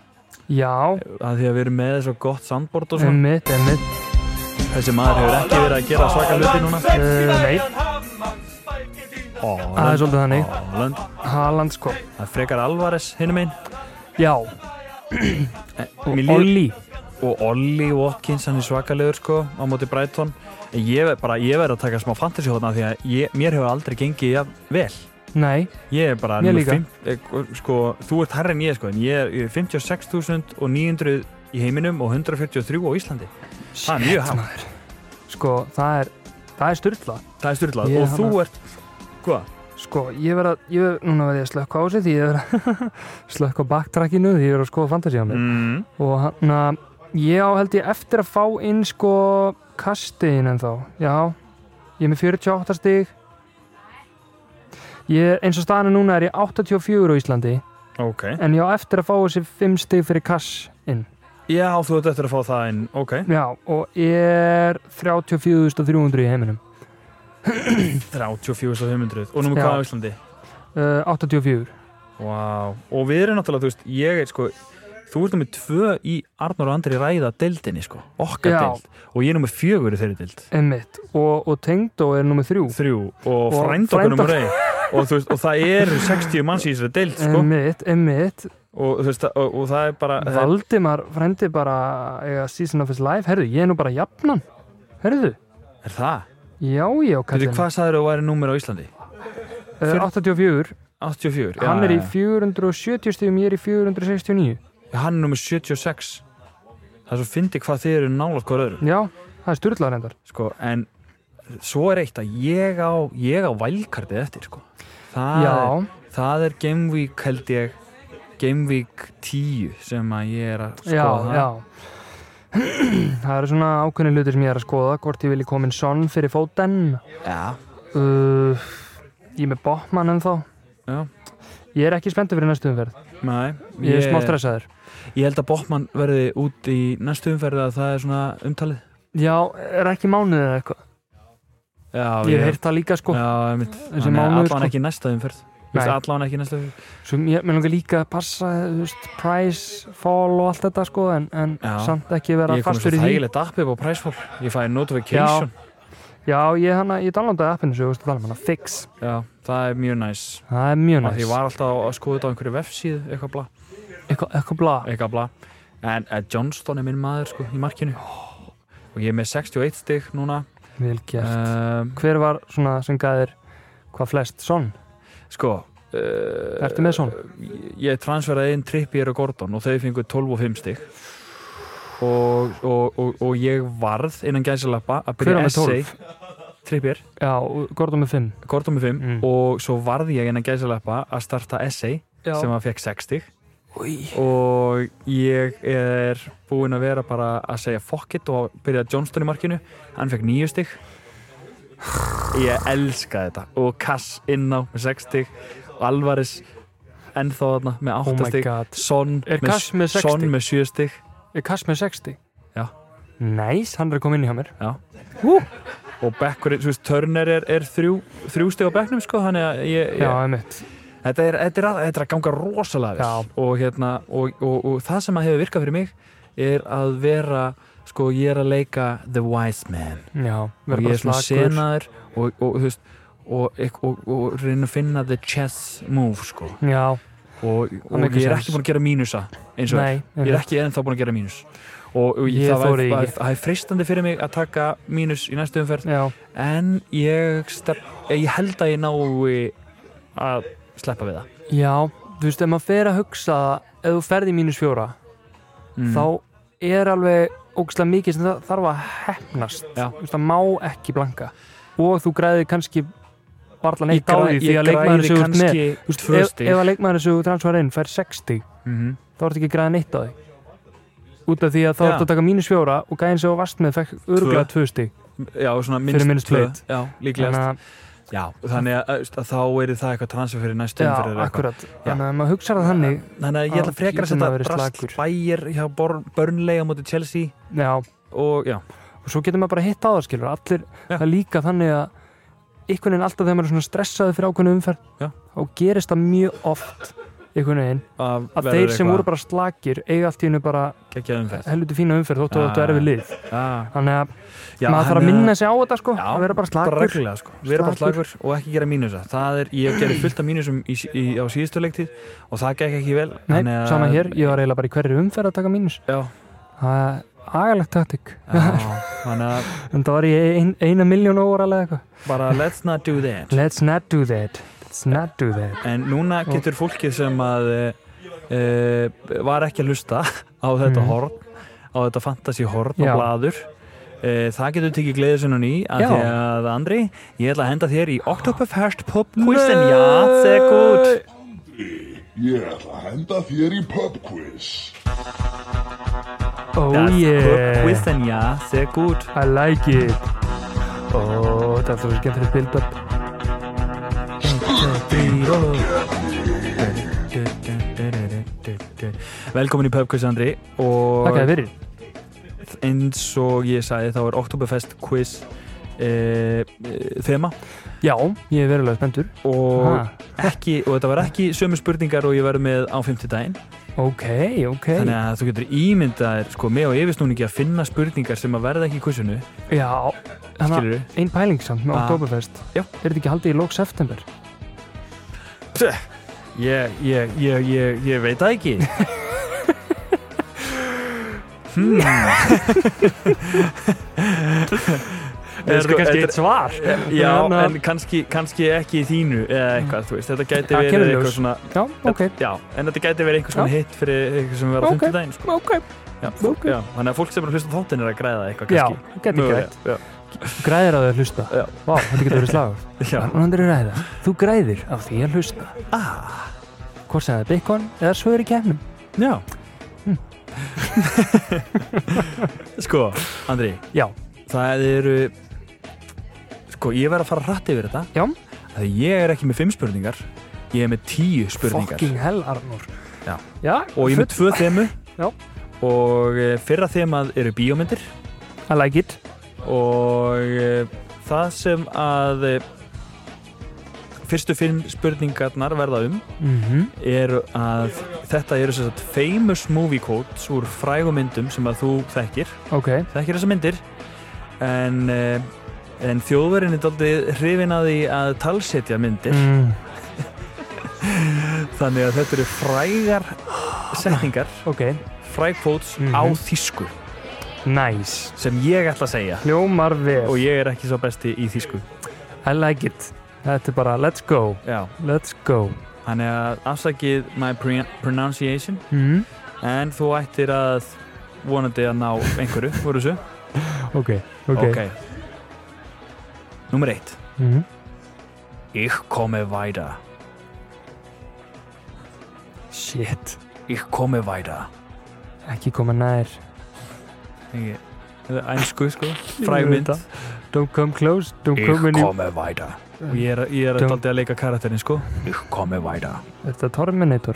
Speaker 2: já,
Speaker 1: að því að við erum með svo gott sandbord og svona
Speaker 2: emmitt, emmitt Mm.
Speaker 1: þessi maður hefur ekki verið að gera svaka hluti núna
Speaker 2: uh, nei,
Speaker 1: Ó,
Speaker 2: það er svolítið þannig
Speaker 1: Land,
Speaker 2: Haaland sko,
Speaker 1: það er frekar Alvarez hinum einn
Speaker 2: já,
Speaker 1: Mér líður-
Speaker 2: Olli
Speaker 1: og Olli Watkins hann er svakalegur sko á móti Brighton en ég, ver- bara, ég verð að taka smá fantasy hóðna því að ég, mér hefur aldrei gengið jafn vel
Speaker 2: nei,
Speaker 1: ég er bara
Speaker 2: Mér
Speaker 1: númer
Speaker 2: líka.
Speaker 1: fimm- eh, sko, þú ert herri en ég sko en ég er- ég er 56.900 í heiminum og 143 á Íslandi það er mjög hafn
Speaker 2: sko, það er það er styrla
Speaker 1: það er styrlað
Speaker 2: Ég
Speaker 1: og þú
Speaker 2: hana-
Speaker 1: ert hvað?
Speaker 2: Sko, ég verð að, ég verð, núna verð ég að slökka á þessu því ég verð að *laughs* slökka á backtrackinu því ég verð að skoða fantasy á mig.
Speaker 1: Mm,
Speaker 2: Og hann að, ég á held ég eftir að fá inn sko kastiðin en þá, já. Ég er með 48 stig. Ég, eins og staðan er núna er ég 84 á Íslandi,
Speaker 1: ok
Speaker 2: en ég á eftir að fá þessi 5 stig fyrir kass inn.
Speaker 1: já þú ert eftir að fá það inn ok
Speaker 2: Já, og ég er 34.300 í heiminum.
Speaker 1: 34.500 og númer
Speaker 2: Já.
Speaker 1: hvað á Íslandi?
Speaker 2: Uh, 84.
Speaker 1: Vá, og við erum náttúrulega, þú veist, ég er sko þú ert nummið tvö í Arnur og Andri ræða deildinni sko, okkar
Speaker 2: Já.
Speaker 1: deild og ég er nummið fjögur í þeirri deild
Speaker 2: Emmitt. Og, og Tengdó er nummið 3.
Speaker 1: þrjú og,
Speaker 2: Og
Speaker 1: og frændokur
Speaker 2: frændokur.
Speaker 1: nummið rey og, þú veist, og það eru 60 manns í þessari deild sko Eh.
Speaker 2: Emmitt, emmitt.
Speaker 1: og, þú veist, og, og það er bara það er-
Speaker 2: Valdimar frendi bara eiga season of his life, herðu, ég er nú bara jafnan, herðu,
Speaker 1: er það,
Speaker 2: já,
Speaker 1: Kalli,
Speaker 2: já, kallinn
Speaker 1: hvað sagður þú væri númir á Íslandi?
Speaker 2: Eh, 84,
Speaker 1: 84,
Speaker 2: hann er í
Speaker 1: já,
Speaker 2: 470 stíðum, ég er í 469
Speaker 1: já. hann er nummið 76 það er svo fyndi hvað þið eru nálaðt hvað öðru
Speaker 2: já, það er styrlað reyndar
Speaker 1: sko, en svo er eitt að ég á, ég á vælkartið eftir sko. það,
Speaker 2: Já.
Speaker 1: er, það er Game Week held ég Game Week 10 sem að ég er að
Speaker 2: já, *clears throat*
Speaker 1: skoða
Speaker 2: já það eru svona ákveðni hluti sem ég er að skoða hvort ég vilji komin sonn fyrir fóten
Speaker 1: Já.
Speaker 2: uh, ég er með botman ennþá
Speaker 1: Já.
Speaker 2: ég er ekki spenntur fyrir næstu umferð
Speaker 1: Nei,
Speaker 2: ég er smá stressaður
Speaker 1: ég held að Bóttmann verði út í næstu umferði að það er svona umtalið
Speaker 2: já, er ekki mánuðið eða eitthvað
Speaker 1: já,
Speaker 2: ég hef heyrt það líka sko
Speaker 1: já, einmitt.
Speaker 2: Þessi
Speaker 1: Þannig að
Speaker 2: mánuður,
Speaker 1: allan
Speaker 2: sko.
Speaker 1: ekki í næsta umferð
Speaker 2: Nei.
Speaker 1: allan ekki í næsta umferð
Speaker 2: Svo mér mér langar líka að passa, þú veist, price, fall og allt þetta sko, en, en
Speaker 1: Já.
Speaker 2: samt ekki vera
Speaker 1: ég kom
Speaker 2: fastur
Speaker 1: svo
Speaker 2: í því.
Speaker 1: þægilegt app upp á Pricefall ég fæði notification já.
Speaker 2: Já, ég, hana, ég downloadaði appinu svo, þú veist, að tala um hana, fix.
Speaker 1: það er mjög næs
Speaker 2: Það er mjög
Speaker 1: Af því
Speaker 2: næst.
Speaker 1: ég var alltaf að skoða þetta á einhverju vefsíðu eitthvað blá
Speaker 2: Eitthvað, eitthvað blá.
Speaker 1: eitthvað bla en uh, Johnston er minn maður sko í markinu og ég er með 61 stig núna
Speaker 2: Vel gert.
Speaker 1: um,
Speaker 2: Hver var svona sem gæðir hvað flest? Son?
Speaker 1: sko uh,
Speaker 2: Ertu með son?
Speaker 1: ég transferaði inn Trippier og Gordon og þau fengu 12 og 5 stig og, og, og, og ég varð innan gæsalappa að
Speaker 2: Hver
Speaker 1: byrja
Speaker 2: var með
Speaker 1: essay Trippier,
Speaker 2: Já, og Gordon með 5.
Speaker 1: Gordon með 5
Speaker 2: Mm.
Speaker 1: og svo varði ég innan gæsalappa að starta essay sem að fekk 6 stig
Speaker 2: Új.
Speaker 1: og ég er búinn að vera bara að segja fuck it og byrja Johnston í markinu hann fekk nýju stygg ég elska þetta og Kass inn á með sex stygg og Alvaris ennþá þarna með
Speaker 2: Oh
Speaker 1: átta
Speaker 2: my
Speaker 1: stygg
Speaker 2: god.
Speaker 1: Son
Speaker 2: Er Kass með sex
Speaker 1: Son
Speaker 2: stig?
Speaker 1: með sjö stygg
Speaker 2: Er Kass með 60?
Speaker 1: Já.
Speaker 2: Næs, hann er að koma inn í hjá mér.
Speaker 1: og Beckurinn, þú veist, Turner er, er þrjú, þrjú stygg á Becknum sko þannig að ég,
Speaker 2: Já,
Speaker 1: ég,
Speaker 2: einmitt.
Speaker 1: þetta, er, þetta, er að, þetta er að ganga rosalega
Speaker 2: Já.
Speaker 1: vel og, hérna, og, og, og það sem að hefur virkað fyrir mig er að vera sko ég er að leika The Wise Man
Speaker 2: Já,
Speaker 1: og
Speaker 2: vera
Speaker 1: ég
Speaker 2: bara
Speaker 1: er svona
Speaker 2: slagur.
Speaker 1: senaður og, og, þú veist og, og, og, og reyna að finna the chess move sko.
Speaker 2: Já,
Speaker 1: og, og
Speaker 2: makes
Speaker 1: ég er
Speaker 2: sense.
Speaker 1: ekki búin að gera mínusa eins og
Speaker 2: nei.
Speaker 1: er. ég er
Speaker 2: einmitt.
Speaker 1: ekki ennþá búin að gera mínus og, og
Speaker 2: Ég
Speaker 1: það var-
Speaker 2: þori ekki.
Speaker 1: var- það er freistandi fyrir mig að taka mínus í næstu umferð
Speaker 2: Já,
Speaker 1: en ég, stef, ég held að ég nái að sleppa við það
Speaker 2: Já, þú veist, ef maður fer að hugsa það, ef þú ferð í mínus fjóra
Speaker 1: Mm.
Speaker 2: þá er alveg ógæslega mikið sem það þarf að hefnast
Speaker 1: Já.
Speaker 2: þú veist, það má ekki blanka og þú græðir kannski varla
Speaker 1: ég
Speaker 2: neitt á því
Speaker 1: græði,
Speaker 2: því
Speaker 1: ég
Speaker 2: að leikmaðurinn
Speaker 1: græði
Speaker 2: sem þú ert með
Speaker 1: kannski
Speaker 2: Þú veist,
Speaker 1: tvö
Speaker 2: ef,
Speaker 1: stig
Speaker 2: ef að leikmaðurinn sem þú transfara inn fær 60
Speaker 1: Mhm.
Speaker 2: þá ertu ekki að græða neitt á því út af því að þá
Speaker 1: Já.
Speaker 2: ertu að taka mínus fjóra og gæðin sem þú varst með fekk örgulega tvö stig
Speaker 1: já, svona
Speaker 2: Fyrir
Speaker 1: minnst
Speaker 2: minnst
Speaker 1: tvö
Speaker 2: tveit.
Speaker 1: já, líklegast
Speaker 2: þannig að
Speaker 1: já, þannig að, að, að þá er það eitthvað transfer fyrir næstu
Speaker 2: Já,
Speaker 1: umferð eða eitthvað.
Speaker 2: akkurat, þannig að maður hugsa það þannig
Speaker 1: þannig að ég ætla
Speaker 2: Já,
Speaker 1: frekar að
Speaker 2: hlýtur nú
Speaker 1: setja
Speaker 2: að vera
Speaker 1: drast
Speaker 2: slakur.
Speaker 1: bæjar hjá Bor- Burnley á móti Chelsea
Speaker 2: Já,
Speaker 1: og já,
Speaker 2: og svo getur maður bara hitt á það skilur allir,
Speaker 1: Já.
Speaker 2: það er líka þannig að einhvern veginn alltaf þegar maður er svona stressaði fyrir ákveðnu umferð
Speaker 1: Já.
Speaker 2: og gerist það mjög oft einhvern veginn
Speaker 1: að,
Speaker 2: að þeir sem voru bara slakir eiga allt í hennu bara
Speaker 1: geggja umferð
Speaker 2: helviti fína umferð þóttu að
Speaker 1: Já.
Speaker 2: þetta er við lið
Speaker 1: já,
Speaker 2: þannig að
Speaker 1: já,
Speaker 2: maður þarf að
Speaker 1: þannig
Speaker 2: minna sig á þetta sko
Speaker 1: Já,
Speaker 2: að vera bara
Speaker 1: bara
Speaker 2: slakur
Speaker 1: reglulega sko, vera bara
Speaker 2: Slakur.
Speaker 1: slagur og ekki gera mínusa það er, ég gerði fullt af mínusum í, í, á síðustu leiktið og það gekk ekki vel
Speaker 2: Nei,
Speaker 1: þannig að-
Speaker 2: sama hér, ég var eiginlega bara í hverju umferð að taka mínus
Speaker 1: já,
Speaker 2: það er agalegt taktik
Speaker 1: já, þannig að
Speaker 2: en það var ég ein, eina miljón óvaralega eitthvað
Speaker 1: bara let's not do that
Speaker 2: Let's not do that. Let's not do that.
Speaker 1: en núna getur fólkið sem að e, var ekki að hlusta á þetta
Speaker 2: Mhm.
Speaker 1: horn á þetta fantasy horn
Speaker 2: Já.
Speaker 1: og blaður e, það getur tekið gleðið sinna ný af
Speaker 2: Já.
Speaker 1: því að Andri, ég ætla að henda þér í Oktoberfest Pub Quiz en já, það er gútt
Speaker 5: Ég ætla að henda þér í pub quiz.
Speaker 2: Oh
Speaker 1: Das Pub
Speaker 2: yeah.
Speaker 1: Quiz en já, það er gútt
Speaker 2: I like it. Oh, það er svo skemmtilegt build-up.
Speaker 1: Velkomin í Pub Quiz Andri og
Speaker 2: Takk að fyrir.
Speaker 1: eins og ég sagði þá er Oktoberfest Quiz e, e, þema
Speaker 2: Já, ég er verulega spenntur.
Speaker 1: og,
Speaker 2: Ha.
Speaker 1: ekki, og þetta var ekki sömu spurningar og ég verði með á 50 daginn
Speaker 2: Ok, ok.
Speaker 1: þannig að þú getur ímyndaðir sko, með og yfirsnúningi að finna spurningar sem að verða ekki í kursinu
Speaker 2: Já, þannig að
Speaker 1: Skilurðu?
Speaker 2: ein pæling samt með
Speaker 1: Ah.
Speaker 2: Oktoberfest.
Speaker 1: Já.
Speaker 2: Er þetta ekki haldið í lók september?
Speaker 1: ég, ég, ég, ég, ég veit það ekki hmm.
Speaker 2: Er
Speaker 1: sko,
Speaker 2: *laughs* þetta kannski
Speaker 1: þetta-
Speaker 2: eitt svar? uh,
Speaker 1: Já,
Speaker 2: Þannig að-
Speaker 1: en kannski, kannski ekki í þínu eða eitthvað, þú veist, þetta gæti
Speaker 2: Það
Speaker 1: verið
Speaker 2: kemur í ljós.
Speaker 1: eitthvað svona
Speaker 2: Já, ok.
Speaker 1: Já, en þetta gæti verið einhvers konar hitt fyrir eitthvað sem verður á
Speaker 2: Ok.
Speaker 1: okay. 50 daginn sko.
Speaker 2: Ok,
Speaker 1: já,
Speaker 2: ok.
Speaker 1: já, Þannig að fólk sem er að hlusta á þáttinn er að græða eitthvað
Speaker 2: Já,
Speaker 1: kannski
Speaker 2: gæti
Speaker 1: Mögulega,
Speaker 2: grætt. Græðir á því að hlusta.
Speaker 1: Já.
Speaker 2: Vá, þetta getur verið slagur.
Speaker 1: Já, já.
Speaker 2: En Andri ræða, þú græðir á því að hlusta. Ah. Hvort sem það er bacon eða svör í kefnum.
Speaker 1: Já
Speaker 2: Hm.
Speaker 1: *laughs*
Speaker 2: *laughs*
Speaker 1: Sko, Andri
Speaker 2: Já.
Speaker 1: Það eru Sko, ég verð að fara hratt yfir þetta
Speaker 2: Já.
Speaker 1: Þegar ég er ekki með fimm spurningar Ég er með tíu spurningar
Speaker 2: Fucking hell, Arnur.
Speaker 1: Já.
Speaker 2: Já,
Speaker 1: Og ég er með tvö þemu
Speaker 2: Já.
Speaker 1: Og eh, fyrra þemað eru bíómyndir
Speaker 2: I like it.
Speaker 1: Og eh, það sem að eh, Fyrstu fimm spurningarnar verða um
Speaker 2: Mm
Speaker 1: eru að þetta eru sem sagt famous movie quotes úr frægum myndum sem að þú þekkir
Speaker 2: Ok,
Speaker 1: þekkir þessar myndir en, eh, en þjóðverðin er daldið hrifin að því að talsetja myndir
Speaker 2: mm,
Speaker 1: þannig að þetta eru frægar setningar,
Speaker 2: ok,
Speaker 1: fræg quotes
Speaker 2: Mhm.
Speaker 1: á þýsku
Speaker 2: nice.
Speaker 1: sem ég ætla að segja
Speaker 2: Hljómar vel.
Speaker 1: og ég er ekki svo besti í þýsku
Speaker 2: I like it. Þetta er bara, let's go,
Speaker 1: Já,
Speaker 2: let's go.
Speaker 1: þannig að afsakið my pre pronunciation
Speaker 2: Mm,
Speaker 1: en þú ættir að vonandi að ná einhverju, voru þessu?
Speaker 2: ok, ok.
Speaker 1: ok. Númer eitt
Speaker 2: Mm,
Speaker 1: Ich komme weiter.
Speaker 2: shit,
Speaker 1: Ich komme weiter.
Speaker 2: ekki koma nær.
Speaker 1: Ekki, þetta er Ænsku, sko.
Speaker 2: Ég
Speaker 1: Fræg
Speaker 2: veit
Speaker 1: mynd.
Speaker 2: það. Don't come close, don't come any...
Speaker 1: weiter. Og ég er, ég er
Speaker 2: Dum.
Speaker 1: alltaf að leika karakterinn, sko. Ich komme weiter.
Speaker 2: Þetta er Terminator.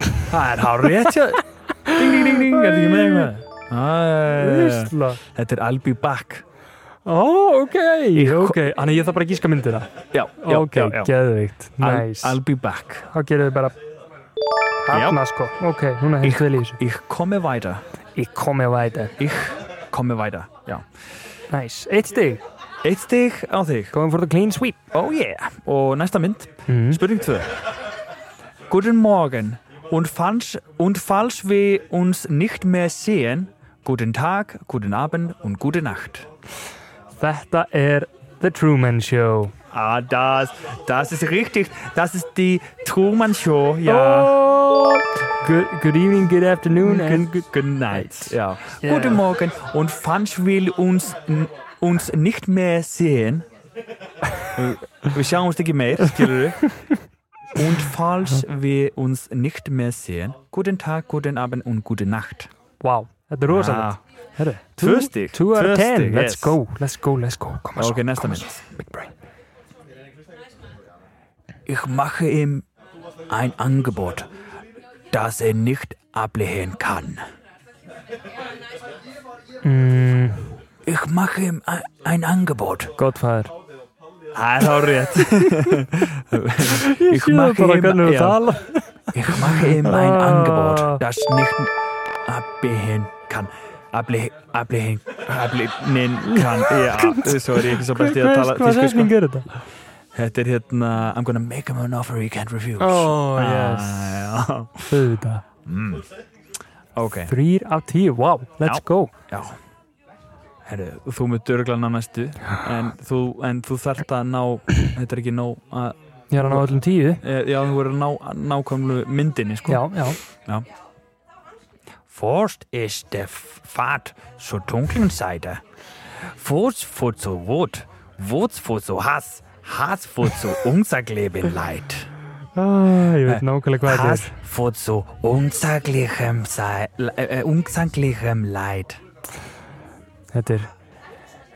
Speaker 1: Það er hár rétt, já. *laughs* Ding, ding, ding, ding. Er þetta ekki með eitthvað? Ah,
Speaker 2: Ísla.
Speaker 1: Þetta er I'll be back.
Speaker 2: Eh. Ó, ok, ok. Þannig ég þarf bara að gíska myndina.
Speaker 1: Já, já,
Speaker 2: ok,
Speaker 1: já, já.
Speaker 2: geðvikt.
Speaker 1: I'll,
Speaker 2: Nice.
Speaker 1: I'll be back.
Speaker 2: Þá gerum við bara... Hanna, sko. Ok, núna hefði vel í þessu.
Speaker 1: Ich komme weiter.
Speaker 2: Ég komi að væta.
Speaker 1: Ich komme weiter. Já.
Speaker 2: Nice. Eitt stig.
Speaker 1: Eitt stig á þig.
Speaker 2: Going for the clean sweep.
Speaker 1: Oh yeah. Og næsta mynd.
Speaker 2: Mhm.
Speaker 1: Spurning 2. Guten Morgen. Und falls, und falls wir uns nicht mehr sehen, guten Tag, guten Abend und gute Nacht.
Speaker 2: Þetta er The Truman Show.
Speaker 1: Ah, das, das ist richtig. Das ist die Truman Show.
Speaker 2: Oh.
Speaker 1: Ja.
Speaker 2: Good, good evening, good afternoon and good...
Speaker 1: Good night. Ja. Guten Morgen. Und falls wir uns, uns nicht mehr sehen, Äh, wir schauen uns die mehr, skilurðu. Und falls wir uns nicht mehr sehen, guten Tag, guten Abend und gute Nacht.
Speaker 2: Wow, þetta er rosalegt.
Speaker 1: Ah,
Speaker 2: Herru,
Speaker 1: Tvö stig.
Speaker 2: Two out
Speaker 1: Tvö
Speaker 2: of ten,
Speaker 1: stig,
Speaker 2: let's
Speaker 1: yes.
Speaker 2: go, let's go, let's go Kom að
Speaker 1: Ok,
Speaker 2: svo,
Speaker 1: næsta
Speaker 2: kom að
Speaker 1: mynd.
Speaker 2: svo, Big brain
Speaker 1: Ich mache ihm ein Angebot, das er nicht ablehnen kann.
Speaker 2: Mm.
Speaker 1: Ich mache ihm ein, ein Angebot.
Speaker 2: Godfather
Speaker 1: Það Ah, er þá *laughs*
Speaker 2: *laughs*
Speaker 1: rétt. Ég
Speaker 2: Ég bara hvernig þú tala
Speaker 1: Ich mache ihm ein
Speaker 2: Ah.
Speaker 1: Angebot, das nicht ablehnen kann. Ablehnen, ablehnen, ablehnen
Speaker 2: *laughs*
Speaker 1: kann. Já, sorry, ég er ekki svo best í að tala
Speaker 2: Hvað
Speaker 1: tísku, sko.
Speaker 2: setning er þetta?
Speaker 1: Þetta er hérna I'm gonna make him an offer he can't refuse
Speaker 2: Oh,
Speaker 1: yes ah, já.
Speaker 2: Þetta
Speaker 1: Ok,
Speaker 2: Þrýr af tíu, wow, let's
Speaker 1: Já.
Speaker 2: go
Speaker 1: já Herru, þú með dörglan á næstu en þú, en þú þarft að ná þetta er ekki nóg að,
Speaker 2: Ég er að ná öllum tíu
Speaker 1: e, já, þú verður að ná nákvæmlu myndinni, sko
Speaker 2: Já, já
Speaker 1: Forst ist der Pfad zur dunklen Seite. Furcht vor zur Wut, Wut vor zur Hass, Hass vor zur unsäglichen Leid.
Speaker 2: ah, Ég veit nákvæmlega hvað þetta
Speaker 1: Hass
Speaker 2: er
Speaker 1: vor zu unsaglichem, Sei- äh, äh, unsaglichem Leid.
Speaker 2: Þetta er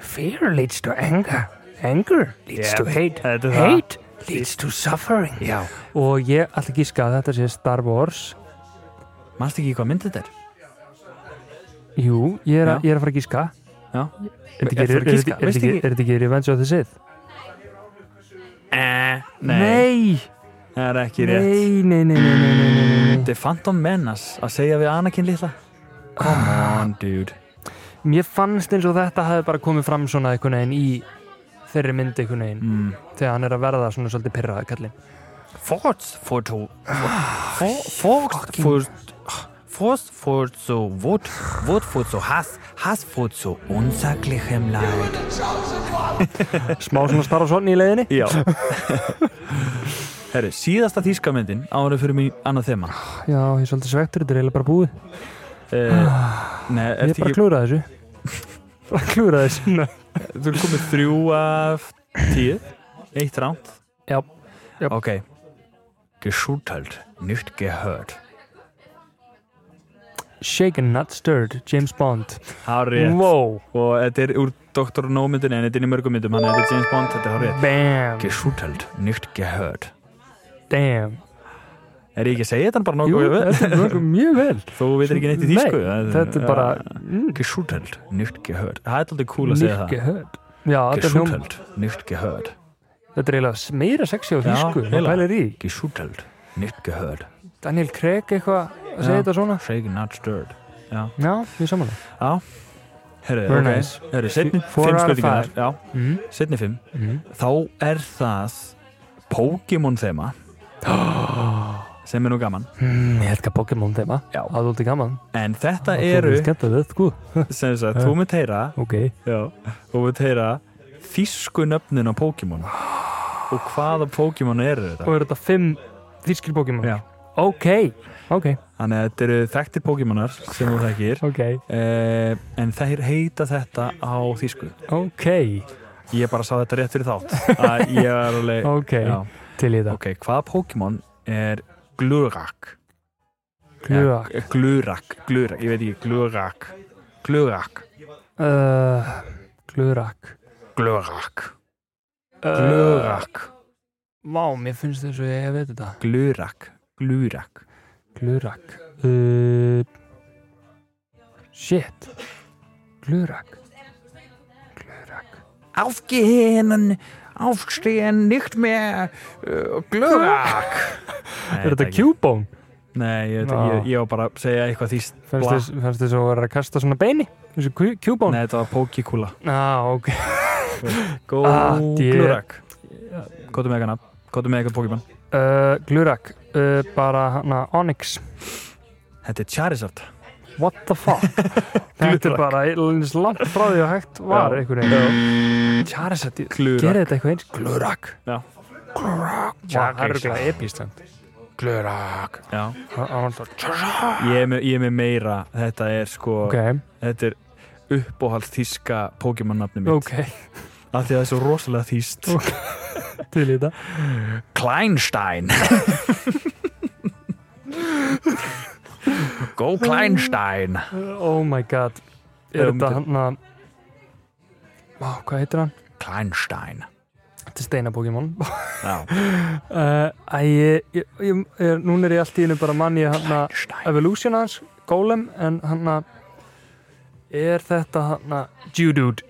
Speaker 2: Fear leads to anger Anger leads
Speaker 1: Yeah,
Speaker 2: to hate
Speaker 1: þetta er það.
Speaker 2: Hate leads to suffering
Speaker 1: Já.
Speaker 2: Og ég ætla að gíska að þetta sé Star Wars
Speaker 1: Manstu ekki hvað myndið þetta er?
Speaker 2: Jú, ég er, að-
Speaker 1: Já.
Speaker 2: ég er að fara að gíska
Speaker 1: Já.
Speaker 2: Er
Speaker 1: Ertu að
Speaker 2: þetta ekki-
Speaker 1: fara að
Speaker 2: er
Speaker 1: giska?
Speaker 2: þetta- er
Speaker 1: Veistu
Speaker 2: þetta ekki-
Speaker 1: ekki?
Speaker 2: er þetta ekki Revenge of the Sith?
Speaker 1: Eh,
Speaker 2: Nei,
Speaker 1: Það er ekki rétt.
Speaker 2: nei, nei, nei, nei, nei, nei, nei, nei.
Speaker 1: Þetta er Phantom Menace að segja við Anakin litla. Come on, dude.
Speaker 2: Mér fannst eins og þetta hafi bara komið fram svona einhvern veginn í þeirri mynd einhvern veginn mm. þegar hann er að verða svona svolítið pyrraði kallinn
Speaker 1: Forst vor zu... Forst vor... Forst vor zu Wut, Wut vor zu Hass, Hass vor zu unsaglichem Leid.
Speaker 2: Smá svona Star Wars honni í leiðinni
Speaker 1: Já. *laughs* Herri, síðasta þýskamyndin árið fyrir mig annað þema.
Speaker 2: Já, ég er svolítið svektur, þetta er eiginlega bara búið *sighs*
Speaker 1: Uh, nei,
Speaker 2: Ég er
Speaker 1: ertu
Speaker 2: bara
Speaker 1: ekki... *laughs*
Speaker 2: að klúra þessu Bara að klúra þessu Nei.
Speaker 1: Þú er komið þrjú af tíu, eitt ránt.
Speaker 2: Já, Yep.
Speaker 1: Okay. Geschultelt, nicht gehört.
Speaker 2: Shaken Not Stirred, James Bond
Speaker 1: Hárið.
Speaker 2: Wow,
Speaker 1: Og þetta er úr Dr. No myndinni, en þetta er í mörgum myndum, þannig að þetta er James Bond, þetta er hárið.
Speaker 2: bam,
Speaker 1: Geschultelt, nicht gehört.
Speaker 2: damn
Speaker 1: Er ég ekki að segja þetta bara
Speaker 2: Jú,
Speaker 1: nokkuð vel?
Speaker 2: þetta er mjög vel
Speaker 1: *laughs* Þú veitir ekki neitt í þýsku.
Speaker 2: Nei, þetta er bara mm,
Speaker 1: Geschultelt, nicht gehört. Það er alltaf cool að segja
Speaker 2: Nicht
Speaker 1: það.
Speaker 2: gehört Já, þetta er, hljóm,
Speaker 1: Geschultelt, nicht gehört.
Speaker 2: þetta er eiginlega meira sexy á þýsku maður
Speaker 1: eiginlega.
Speaker 2: pælir í því.
Speaker 1: Geschultelt, nicht gehört.
Speaker 2: Daniel Craig eitthvað að segja
Speaker 1: Já.
Speaker 2: þetta svona
Speaker 1: Shaken, not stirred.
Speaker 2: Já, við samanlega
Speaker 1: Já. Herru,
Speaker 2: Very
Speaker 1: ok.
Speaker 2: nice.
Speaker 1: Herru, setni
Speaker 2: Four
Speaker 1: fimm
Speaker 2: out of
Speaker 1: spurningar.
Speaker 2: five.
Speaker 1: Já,
Speaker 2: mm.
Speaker 1: setni fimm.
Speaker 2: Mhm.
Speaker 1: Þá er það Pokémon
Speaker 2: *gasps*
Speaker 1: þema. Sem er nú gaman.
Speaker 2: Mm, Ég elka Pokémon þema
Speaker 1: Já.
Speaker 2: Það er aldrei gaman
Speaker 1: En þetta
Speaker 2: Það er
Speaker 1: eru,
Speaker 2: skemmtilegt, sko
Speaker 1: sem sagt, þú mynd heyra
Speaker 2: Ok
Speaker 1: Já, og við tegja þýsku nöfnin á Pokémon og hvaða Pokémon eru
Speaker 2: Og
Speaker 1: þetta
Speaker 2: eru þetta fimm þýskir Pokémon?
Speaker 1: Já.
Speaker 2: Ok Ok
Speaker 1: þannig að þetta eru þekktir Pokémonar sem þú þekkir
Speaker 2: Ok
Speaker 1: eh, en þeir heita þetta á þýsku
Speaker 2: Ok
Speaker 1: ég bara sá þetta rétt fyrir þátt að ég er alveg
Speaker 2: Ok
Speaker 1: Já,
Speaker 2: Til í það
Speaker 1: ok, hvaða Pokémon er Glurak
Speaker 2: Glurak
Speaker 1: ja, Glurak, Glurak, ég veit ekki Glurak Glurak,
Speaker 2: uh, Glurak
Speaker 1: Glurak
Speaker 2: Uh,
Speaker 1: Glurak,
Speaker 2: Vá, mér finnst þess að ég veit þetta
Speaker 1: Glurak Glurak
Speaker 2: Glurak uh, Shit Glurak Glurak
Speaker 1: Aufgehen, aufstehen, nicht mehr, uh,
Speaker 2: *laughs*
Speaker 1: glörak.
Speaker 2: Er þetta Q-bone?
Speaker 1: Nei, ég, veit
Speaker 2: Já.
Speaker 1: ekki, ég, ég var bara að segja eitthvað því
Speaker 2: Fannst þess- fannst þess að vera að kasta svona beini? Þessu Q- Q-bone?
Speaker 1: Nei, þetta var pókikúla.
Speaker 2: ah, ok
Speaker 1: Go
Speaker 2: Ah, dé-
Speaker 1: glörak. Kvotum með eitthvað nafn, kvotum með eitthvað pókimann.
Speaker 2: uh, Glurak uh, Bara hana Onyx
Speaker 1: Þetta er Charizard.
Speaker 2: What the *laughs* fuck? þetta er
Speaker 1: Glurak.
Speaker 2: bara eins langt frá því að hægt var
Speaker 1: Já.
Speaker 2: einhvern veginn
Speaker 1: Charizard, glurak.
Speaker 2: Gerið þetta eitthvað eins? Glurak
Speaker 1: Já.
Speaker 2: Glurak Vá, Það er eitthvað epíst samt. Glurak
Speaker 1: Já,
Speaker 2: Það var alltaf
Speaker 1: ég er, með, ég er með meira, þetta er sko,
Speaker 2: Ok,
Speaker 1: þetta er uppóhald þýska pókimann-nafni mitt.
Speaker 2: ok *laughs*
Speaker 1: Af því að það er svo rosalega þýst.
Speaker 2: Til í þetta
Speaker 1: Kleinstein. Go Kleinstein.
Speaker 2: Oh my god er
Speaker 1: myndi-
Speaker 2: þetta hann að Vá, hvað heitir hann?
Speaker 1: Kleinstein
Speaker 2: Þetta er Steina Pokémon *laughs*
Speaker 1: Já,
Speaker 2: uh, Æ, ég, ég, ég, er- núna er ég allt í hennu bara mann ég hann að
Speaker 1: Kleinstein
Speaker 2: Evolution hans, Golem en hann að er þetta hann að Geodude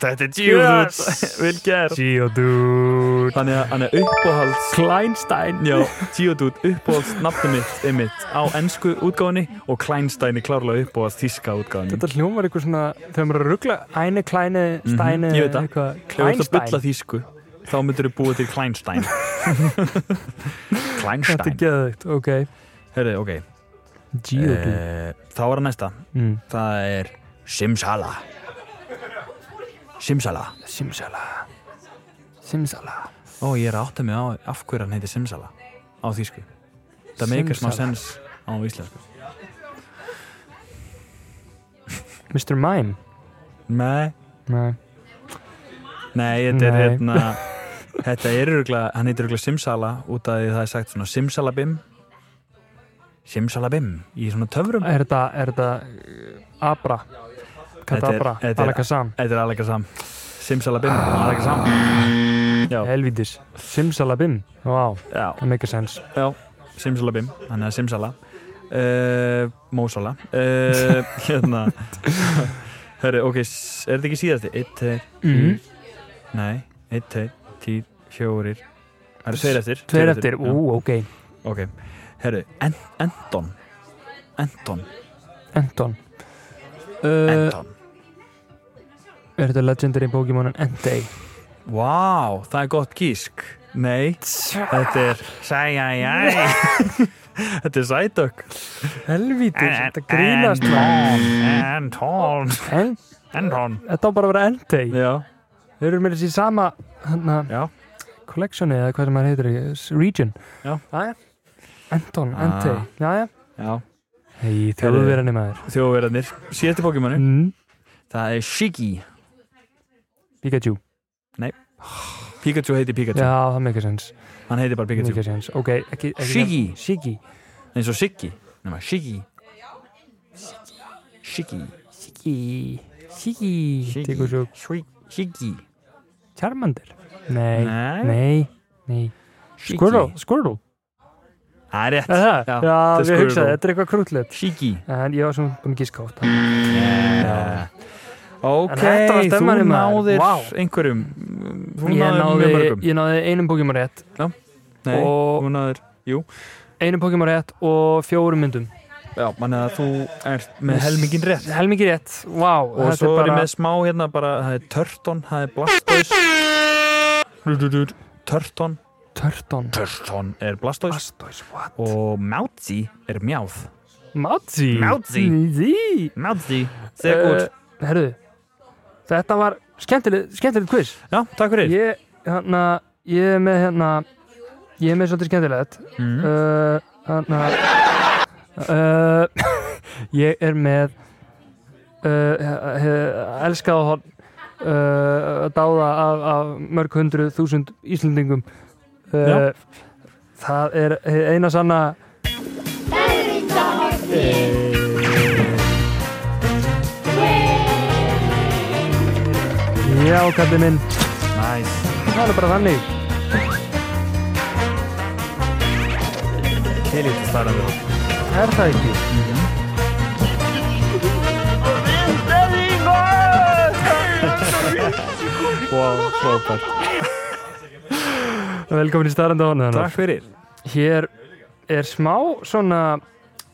Speaker 1: Þetta er
Speaker 2: Yes!
Speaker 1: Vel gert
Speaker 2: Geodude
Speaker 1: Þannig að hann er uppáhalds
Speaker 2: Kleinstein
Speaker 1: Já, Geodude uppáhalds nafni mitt einmitt á ennsku útgáðinni og Kleinstein er klárlega uppáhalds tíska útgáðinni
Speaker 2: Þetta hljómar eitthvað svona, þegar maður er að ruggla Æne, Kleine, Steine,
Speaker 1: Mhm. Ég veit það.
Speaker 2: eitthvað
Speaker 1: Ef þú ert að bylla
Speaker 2: Kleinstein,
Speaker 1: þýsku þá myndir þú búa til
Speaker 2: *laughs*
Speaker 1: Kleinstein
Speaker 2: þetta er
Speaker 1: Kleinstein
Speaker 2: geðvægt, ok
Speaker 1: Herri, ok
Speaker 2: Geodude
Speaker 1: Eh, Þá er að næsta
Speaker 2: mm.
Speaker 1: Það er Simsala Simsala
Speaker 2: Simsala Simsala
Speaker 1: Ó, ég er að átta mig á af hverju hann heitir Simsala á þýsku Það meikar smá
Speaker 2: Simsala.
Speaker 1: sens á íslensku
Speaker 2: Mr. Mime
Speaker 1: Nei,
Speaker 2: Nei,
Speaker 1: nei, þetta er
Speaker 2: Nei.
Speaker 1: hérna Þetta er örgulega, hann heitir örgulega Simsala út af því það er sagt svona Simsalabim Simsalabim í svona töfrum
Speaker 2: er þetta, er þetta uh, Abra Kadabra,
Speaker 1: Þetta er- þetta er-
Speaker 2: Alakazam
Speaker 1: Þetta er alveg sam Simsalabim,
Speaker 2: Ah.
Speaker 1: alveg sam Já,
Speaker 2: Helvítis, Simsalabim Vá,
Speaker 1: já,
Speaker 2: það make a sense
Speaker 1: já Simsalabim, hann er Simsala uh, Mósala
Speaker 2: *laughs*
Speaker 1: uh, Hérna Hörru, ok, s- er þetta ekki síðasti? 1, 2,
Speaker 2: mm.
Speaker 1: Nei, 1, 2, 10, 4 Það eru tveir eftir
Speaker 2: Tveir eftir,
Speaker 1: já,
Speaker 2: ú, ok
Speaker 1: Ok, herru, en, Anton Anton,
Speaker 2: Anton uh,
Speaker 1: Anton
Speaker 2: Er þetta legendary Pokémonin Entei
Speaker 1: Vá, það er gott gísk Nei, þetta er
Speaker 2: *laughs*
Speaker 1: Sæjæjæj Þetta er Sædök
Speaker 2: Helvítis, þetta grínast maður.
Speaker 1: Anton
Speaker 2: En,
Speaker 1: Anton
Speaker 2: þetta á bara að vera Entei
Speaker 1: Já,
Speaker 2: Þeir eru með þessi sama hana,
Speaker 1: já
Speaker 2: collectioni eða hvað sem maður heitir s- region
Speaker 1: Já.
Speaker 2: Jæja. Anton,
Speaker 1: Ah.
Speaker 2: Entei Jæja
Speaker 1: Já,
Speaker 2: Hei, þjóðverðinni maður
Speaker 1: þjóðverðarnir Síðasti Pokémonu
Speaker 2: mm.
Speaker 1: Það er Shiggy
Speaker 2: Pikachu
Speaker 1: Pikachu heitir Pikachu
Speaker 2: Já, það meikar sens
Speaker 1: Hann heitir bara Pikachu
Speaker 2: Meikar sens Ok, ekki, ekki
Speaker 1: Shiggy.
Speaker 2: Shiggy
Speaker 1: eins og Siggi nema Siggi Siggi
Speaker 2: Shiggy Shiggy Tekur svo
Speaker 1: Siggi Siggi
Speaker 2: Charmander Nei
Speaker 1: Nei.
Speaker 2: Nei, Nei. Squirtle Squirtle
Speaker 1: Það er rétt
Speaker 2: Er það?
Speaker 1: Já,
Speaker 2: Já,
Speaker 1: þetta er
Speaker 2: við hugsaði,
Speaker 1: Squirtle.
Speaker 2: þetta er eitthvað krútlegt
Speaker 1: Siggi
Speaker 2: En ég var svona búin að gíska á þetta
Speaker 1: Ok,
Speaker 2: En þetta var
Speaker 1: þú
Speaker 2: stemmarinn, maður.
Speaker 1: náðir
Speaker 2: Vá.
Speaker 1: einhverjum Þú
Speaker 2: Ég
Speaker 1: náðir
Speaker 2: náði,
Speaker 1: mjög mörgum
Speaker 2: ég náði einum Pokémon rétt
Speaker 1: Nei,
Speaker 2: og-
Speaker 1: þú náðir
Speaker 2: Einum Pokémon rétt og fjórum myndum
Speaker 1: Já, mann að þú ert með helmingin rétt
Speaker 2: Helmingi rétt, vá
Speaker 1: Og
Speaker 2: þetta
Speaker 1: svo
Speaker 2: er
Speaker 1: er ég
Speaker 2: bara-
Speaker 1: með smá hérna bara Það er Turton, það er Blastoise Turton
Speaker 2: Turton
Speaker 1: Turton er Blastoise
Speaker 2: Blastoise, what?
Speaker 1: Og Moutsy er Mjáð
Speaker 2: Mátsi
Speaker 1: Mátsi.
Speaker 2: Mátsi
Speaker 1: Moutsy, segja gott
Speaker 2: Eh, Herðu, þetta var skemmtilegt, skemmtilegt quiz.
Speaker 1: Já, takk fyrir
Speaker 2: Ég, hérna, ég er með, hérna, ég er með svolítið skemmtilegt. Mm. Uh, hérna, uh, *laughs* ég er með, uh, elskað og hot, uh, dáða af, af mörg hundruð þúsund Íslendingum. Uh,
Speaker 1: Já.
Speaker 2: það er hið eina sanna, já, kallið minn,
Speaker 1: Næs
Speaker 2: það er bara þannig.
Speaker 1: Helítið starfið
Speaker 2: Er það ekki? Mm
Speaker 1: Wow, frábært
Speaker 2: Velkomin í starranda honu
Speaker 1: Takk fyrir
Speaker 2: Hér er smá svona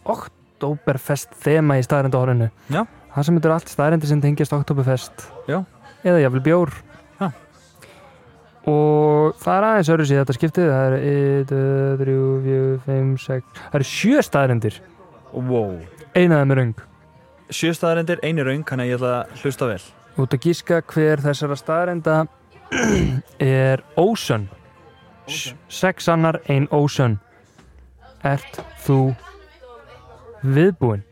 Speaker 2: Oktoberfest þema í starranda honunu
Speaker 1: Já.
Speaker 2: Það sem þetta er allt starrandi sem tengjast Oktoberfest
Speaker 1: Já.
Speaker 2: Eða jafnvel bjór
Speaker 1: Já.
Speaker 2: Og það er aðeins öðru sér þetta skiptið Það er 1, 2, 3, 4, 5, 6 Það eru sjö staðrendir
Speaker 1: Wow
Speaker 2: Einaðið með röng
Speaker 1: Sjö staðarendir, eini raung, þannig að ég ætla að hlusta vel
Speaker 2: Út að gíska hver þessara staðrenda *clears throat* er ósönn. S- Sex annar ein ósönn. Ert þú viðbúinn?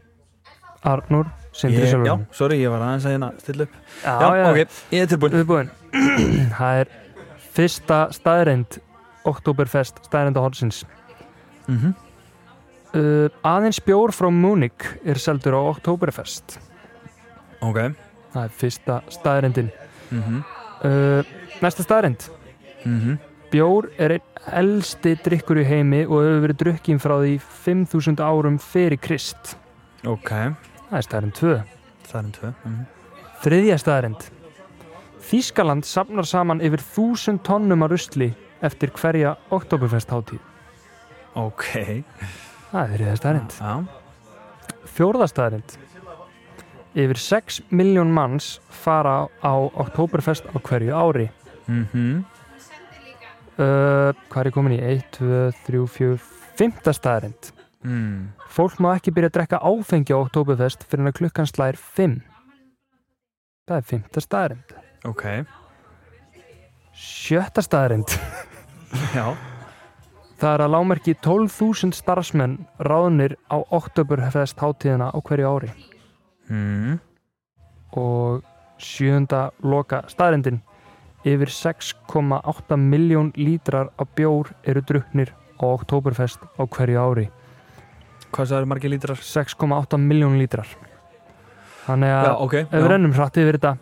Speaker 2: Arnur Sindri
Speaker 1: ég, Já,
Speaker 2: Sjálfur.
Speaker 1: sorry, ég var aðeins að hérna stilla upp
Speaker 2: Já,
Speaker 1: ok, ég er tilbúin
Speaker 2: Viðbúinn. *clears throat* Það er fyrsta staðrend Oktoberfest staðrenda horfsins.
Speaker 1: mm
Speaker 2: Mhm.
Speaker 1: -hmm.
Speaker 2: Uh, aðeins bjór frá Múnik er seldur á Oktoberfest.
Speaker 1: Mhm. Ok, Mhm.
Speaker 2: Það er fyrsta staðrendin. uh, næsta staðrend. Bjór er einn elsti drikkur í heimi og hefur verið drukkin frá því 5000 árum fyrir Krist.
Speaker 1: ok
Speaker 2: Það er staðrend 2.
Speaker 1: Það er um tvö mm
Speaker 2: Þriðja staðrend. Þískaland safnar saman yfir 1000 tonnum af rusli eftir hverja oktoberfest hátíð.
Speaker 1: Ok,
Speaker 2: Það er þriðja staðrend.
Speaker 1: já,
Speaker 2: Fjórða staðrind Yfir 6 miljón manns fara á Oktoberfest á hverju ári
Speaker 1: mhm
Speaker 2: uh, Hvað er ég komin í? 1, 2, 3, 4, 5. staðrind
Speaker 1: mm.
Speaker 2: Fólk má ekki byrja að drekka áfengi á Oktoberfest fyrir að klukkan slær 5 Það er 5. staðrind
Speaker 1: Ok,
Speaker 2: 7. staðrind
Speaker 1: já
Speaker 2: Það er að lámerki 12.000 starfsmenn ráðnir á Oktoberfest hátíðina á hverju ári
Speaker 1: mm.
Speaker 2: og sjöunda loka staðrendin yfir 6,8 miljón lítrar af bjór eru druknir á Oktoberfest á hverju ári
Speaker 1: Hvað sagði margir lítrar?
Speaker 2: 6,8 miljón lítrar þannig að
Speaker 1: Já, Mhm. ok
Speaker 2: ef við rennum hratt yfir þetta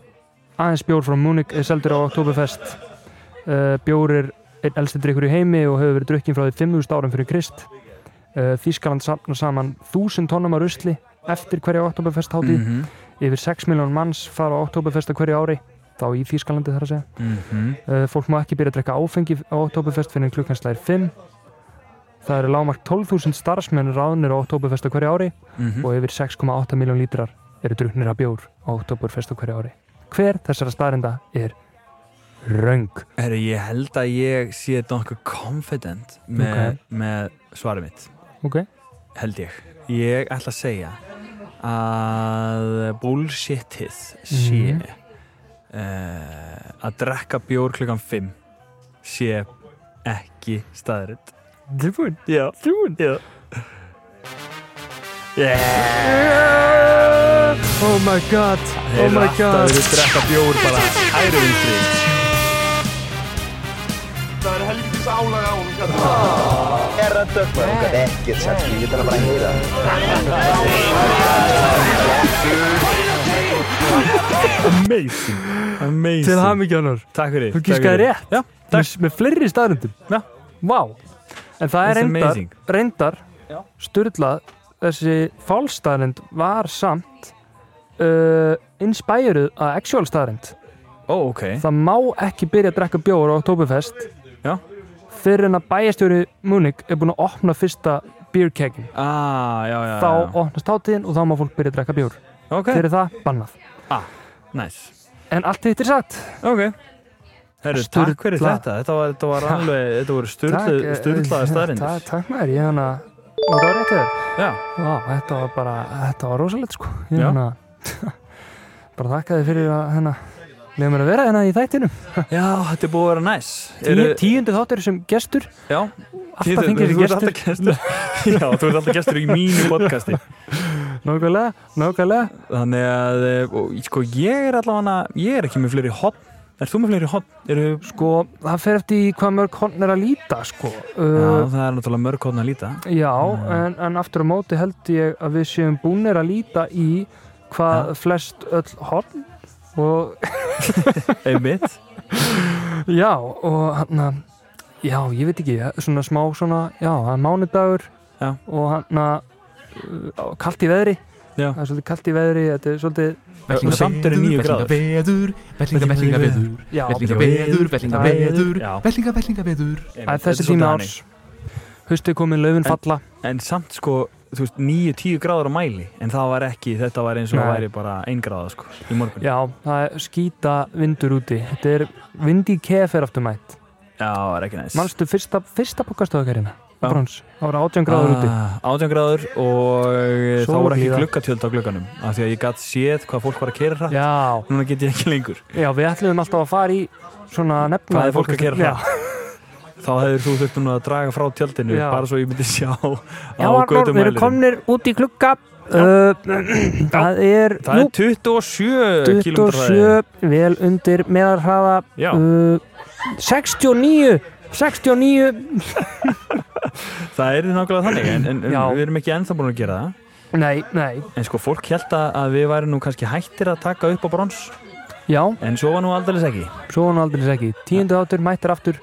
Speaker 2: aðeins bjór frá Munich er seldur á Oktoberfest uh, bjór er einn elsti drikkur í heimi og hefur verið drukkin frá því 5.000 árum fyrir Krist uh, Þískaland safnar saman 1000 tonnum af rusli eftir hverja Oktoberfest hátíð
Speaker 1: mm -hmm.
Speaker 2: yfir 6 miljón manns fara á Oktoberfest á hverju ári þá í Þýskalandi þar að segja
Speaker 1: Mhm.
Speaker 2: uh, fólk má ekki byrja að drekka áfengi á Oktoberfest fyrir klukkan slæðir 5 það eru lágmark 12.000 starfsmenn ráðnir á Oktoberfest á hverju ári
Speaker 1: Mhm.
Speaker 2: og yfir 6,8 miljón lítrar eru druknir af bjór á Oktoberfest á hverju ári hver þessara staðrinda er röng
Speaker 1: Herru, ég held að ég sé þetta nokkuð confident með,
Speaker 2: Ok.
Speaker 1: með svarið mitt
Speaker 2: ok,
Speaker 1: held ég ég ætla að segja að bullshitið sé mm
Speaker 2: Mhm.
Speaker 1: að drekka bjór klukkan 5 sé ekki staðrind
Speaker 2: tilbúin
Speaker 1: já,
Speaker 2: tilbúin
Speaker 1: já yeah.
Speaker 2: oh my god, oh my god
Speaker 1: við drekka bjór bara hæru vinstri amazing, amazing.
Speaker 2: til hamingjónur
Speaker 1: takk fyrir
Speaker 2: Þú
Speaker 1: takk
Speaker 2: gískaði
Speaker 1: fyrir.
Speaker 2: rétt.
Speaker 1: já, takk
Speaker 2: með, með fleiri staðrindum
Speaker 1: Já.
Speaker 2: Vá. en það er
Speaker 1: It's
Speaker 2: reyndar,
Speaker 1: amazing.
Speaker 2: reyndar styrlað þessi fálstaðrind var samt uh, inspiruð að actual staðrind
Speaker 1: ó, ok
Speaker 2: það má ekki byrja að drekka bjóður á Oktoberfest
Speaker 1: Já.
Speaker 2: fyrir en að bæjastjóri Munich er búin að opna fyrsta beer keggin
Speaker 1: ah, já, já,
Speaker 2: þá
Speaker 1: já.
Speaker 2: opnast hátíðin og þá má fólk byrja að drekka bjór
Speaker 1: ok,
Speaker 2: fyrir það bannað
Speaker 1: nice
Speaker 2: en allt þetta er satt
Speaker 1: ok Herru,
Speaker 2: Sturla-
Speaker 1: takk fyrir þetta, þetta var, þetta var alveg, þetta voru
Speaker 2: *laughs* Takk, eh,
Speaker 1: styrlaði
Speaker 2: ta-
Speaker 1: staðrindir.
Speaker 2: takk maður, ég hann að það var rétt þér
Speaker 1: Já,
Speaker 2: Vá, þetta var bara, þetta var rosalegt sko Ég
Speaker 1: Já.
Speaker 2: hana, *laughs* bara þakka þið fyrir að hérna leiðum mér að vera hérna í þættinum
Speaker 1: já, þetta er búið að vera næs.
Speaker 2: Tíu, Tíundi þáttur sem gestur
Speaker 1: Já,
Speaker 2: Alltaf þingir sem
Speaker 1: Þú ert alltaf
Speaker 2: gestur
Speaker 1: gestur *laughs* Já, þú ert alltaf gestur í mínu podcasti
Speaker 2: Nákvæmlega, nákvæmlega
Speaker 1: Þannig að, eh, og, sko, ég er allavega Ég er ekki með fleiri hot Er þú með fleiri hot? Eru,
Speaker 2: Sko, það fer eftir í hvað mörg horn er að líta sko
Speaker 1: já,
Speaker 2: uh,
Speaker 1: það er náttúrulega mörg hotna að líta
Speaker 2: Já, en, en aftur á móti held ég að við séum búnir að líta í hvað flest öll horn og *laughs*
Speaker 1: Einmitt
Speaker 2: já, og hann að Já, ég veit ekki, svona smá svona, já, það er mánudagur
Speaker 1: Já.
Speaker 2: og hann að kallt í veðri
Speaker 1: Já.
Speaker 2: það er svolítið kallt í veðri, þetta er svolítið
Speaker 1: Og samt eru nýju gráður
Speaker 10: Vellingabeður, vellingabeður,
Speaker 2: já,
Speaker 10: vellingabeður, vellingabeður,
Speaker 1: Já,
Speaker 10: vellingabeður.
Speaker 2: að
Speaker 1: einmitt,
Speaker 2: þessi
Speaker 1: þetta er
Speaker 2: tíma
Speaker 1: svolítið
Speaker 2: árs haustið komin löfin falla
Speaker 1: þannig. En samt, sko, þú veist, nýju, tíu gráður á mæli En það var ekki, þetta var eins og það
Speaker 2: Nei.
Speaker 1: væri bara ein gráða, sko Í morgun
Speaker 2: já, það er skýta vindur úti þetta er vind í kef er aftur mætt
Speaker 1: það var ekki næs
Speaker 2: manstu fyrsta, fyrsta pokastöðakarina
Speaker 1: Já.
Speaker 2: brons, það voru 18 gráður úti
Speaker 1: Ah, 18 gráður og eh, þá
Speaker 2: Sól
Speaker 1: voru ekki
Speaker 2: blíða.
Speaker 1: gluggatjöld á glugganum af því að ég gat séð hvað fólk var að kera hratt
Speaker 2: já,
Speaker 1: núna get ég ekki lengur
Speaker 2: já, við ætlum alltaf að fara í svona nefna
Speaker 1: Hvað er fólk að gera
Speaker 2: Já.
Speaker 1: þá hefur þú þurft núna að draga frá tjaldinu
Speaker 2: Já.
Speaker 1: bara svo ég myndi sjá á
Speaker 2: Já, Arnór, við erum
Speaker 1: gautumælinum
Speaker 2: komnir út í klukka uh, það er,
Speaker 1: það
Speaker 2: nú,
Speaker 1: er 27 kilómetrar
Speaker 2: 27 vel undir meðarhraða
Speaker 1: Já.
Speaker 2: uh, 69 69
Speaker 1: það er nákvæmlega þannig en, en
Speaker 2: Já.
Speaker 1: við erum ekki ennþá búin að gera það
Speaker 2: Nei, nei,
Speaker 1: En sko, fólk held að að við væri nú kannski hættir að taka upp á brons
Speaker 2: já,
Speaker 1: En svo var nú aldrei ekki
Speaker 2: svo hann aldrei ekki Tíundu áttur, mættir aftur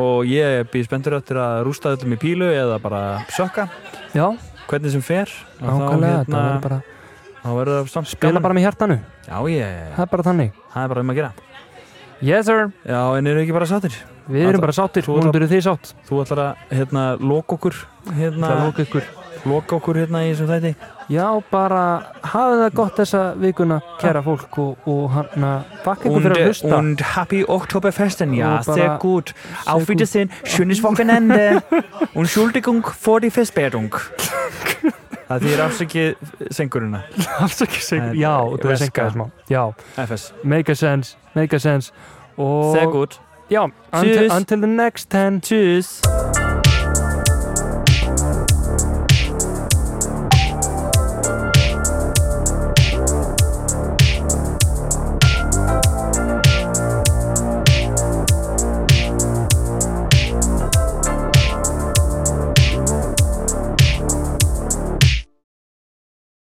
Speaker 1: Og ég býð spenntur eftir að rústa öllum í pílu eða bara sökka
Speaker 2: Já,
Speaker 1: Hvernig sem fer Og þá, hérna,
Speaker 2: ákvæmlega, þetta verður bara
Speaker 1: Þá verður það samt
Speaker 2: Spila
Speaker 1: gaman.
Speaker 2: bara með hjartanu,
Speaker 1: Já, ég,
Speaker 2: það er bara þannig
Speaker 1: það er bara um að gera
Speaker 2: Yes sir,
Speaker 1: Já, en eru ekki bara sattir?
Speaker 2: við
Speaker 1: Alla-
Speaker 2: erum bara sáttir,
Speaker 1: Þú-
Speaker 2: hún eru þið sátt
Speaker 1: Þú ætlar að hérna, loka okkur hérna,
Speaker 2: Það lóka ykkur
Speaker 1: loka okkur hérna í þessum þætti
Speaker 2: Já, bara hafið það gott þessa vikuna, kæra fólk og, og hann að bakka ykkur fyrir að hlusta
Speaker 1: und happy Oktoberfesten, ja,
Speaker 2: Und bara-
Speaker 1: sehr gut. Auf
Speaker 2: gut.
Speaker 1: Wiedersehen, schönes
Speaker 2: *laughs*
Speaker 1: Wochenende und Entschuldigung für die Verspätung. *laughs* Það því er afsakið sengurina,
Speaker 2: Afsakið sig
Speaker 1: En-
Speaker 2: Já, þú er
Speaker 1: Veska.
Speaker 2: senkaði smá Já,
Speaker 1: FS.
Speaker 2: make a sense, make a sense og
Speaker 1: Sehr gut.
Speaker 2: Já, until,
Speaker 1: Tschüss.
Speaker 2: until the next ten
Speaker 1: Tschüss.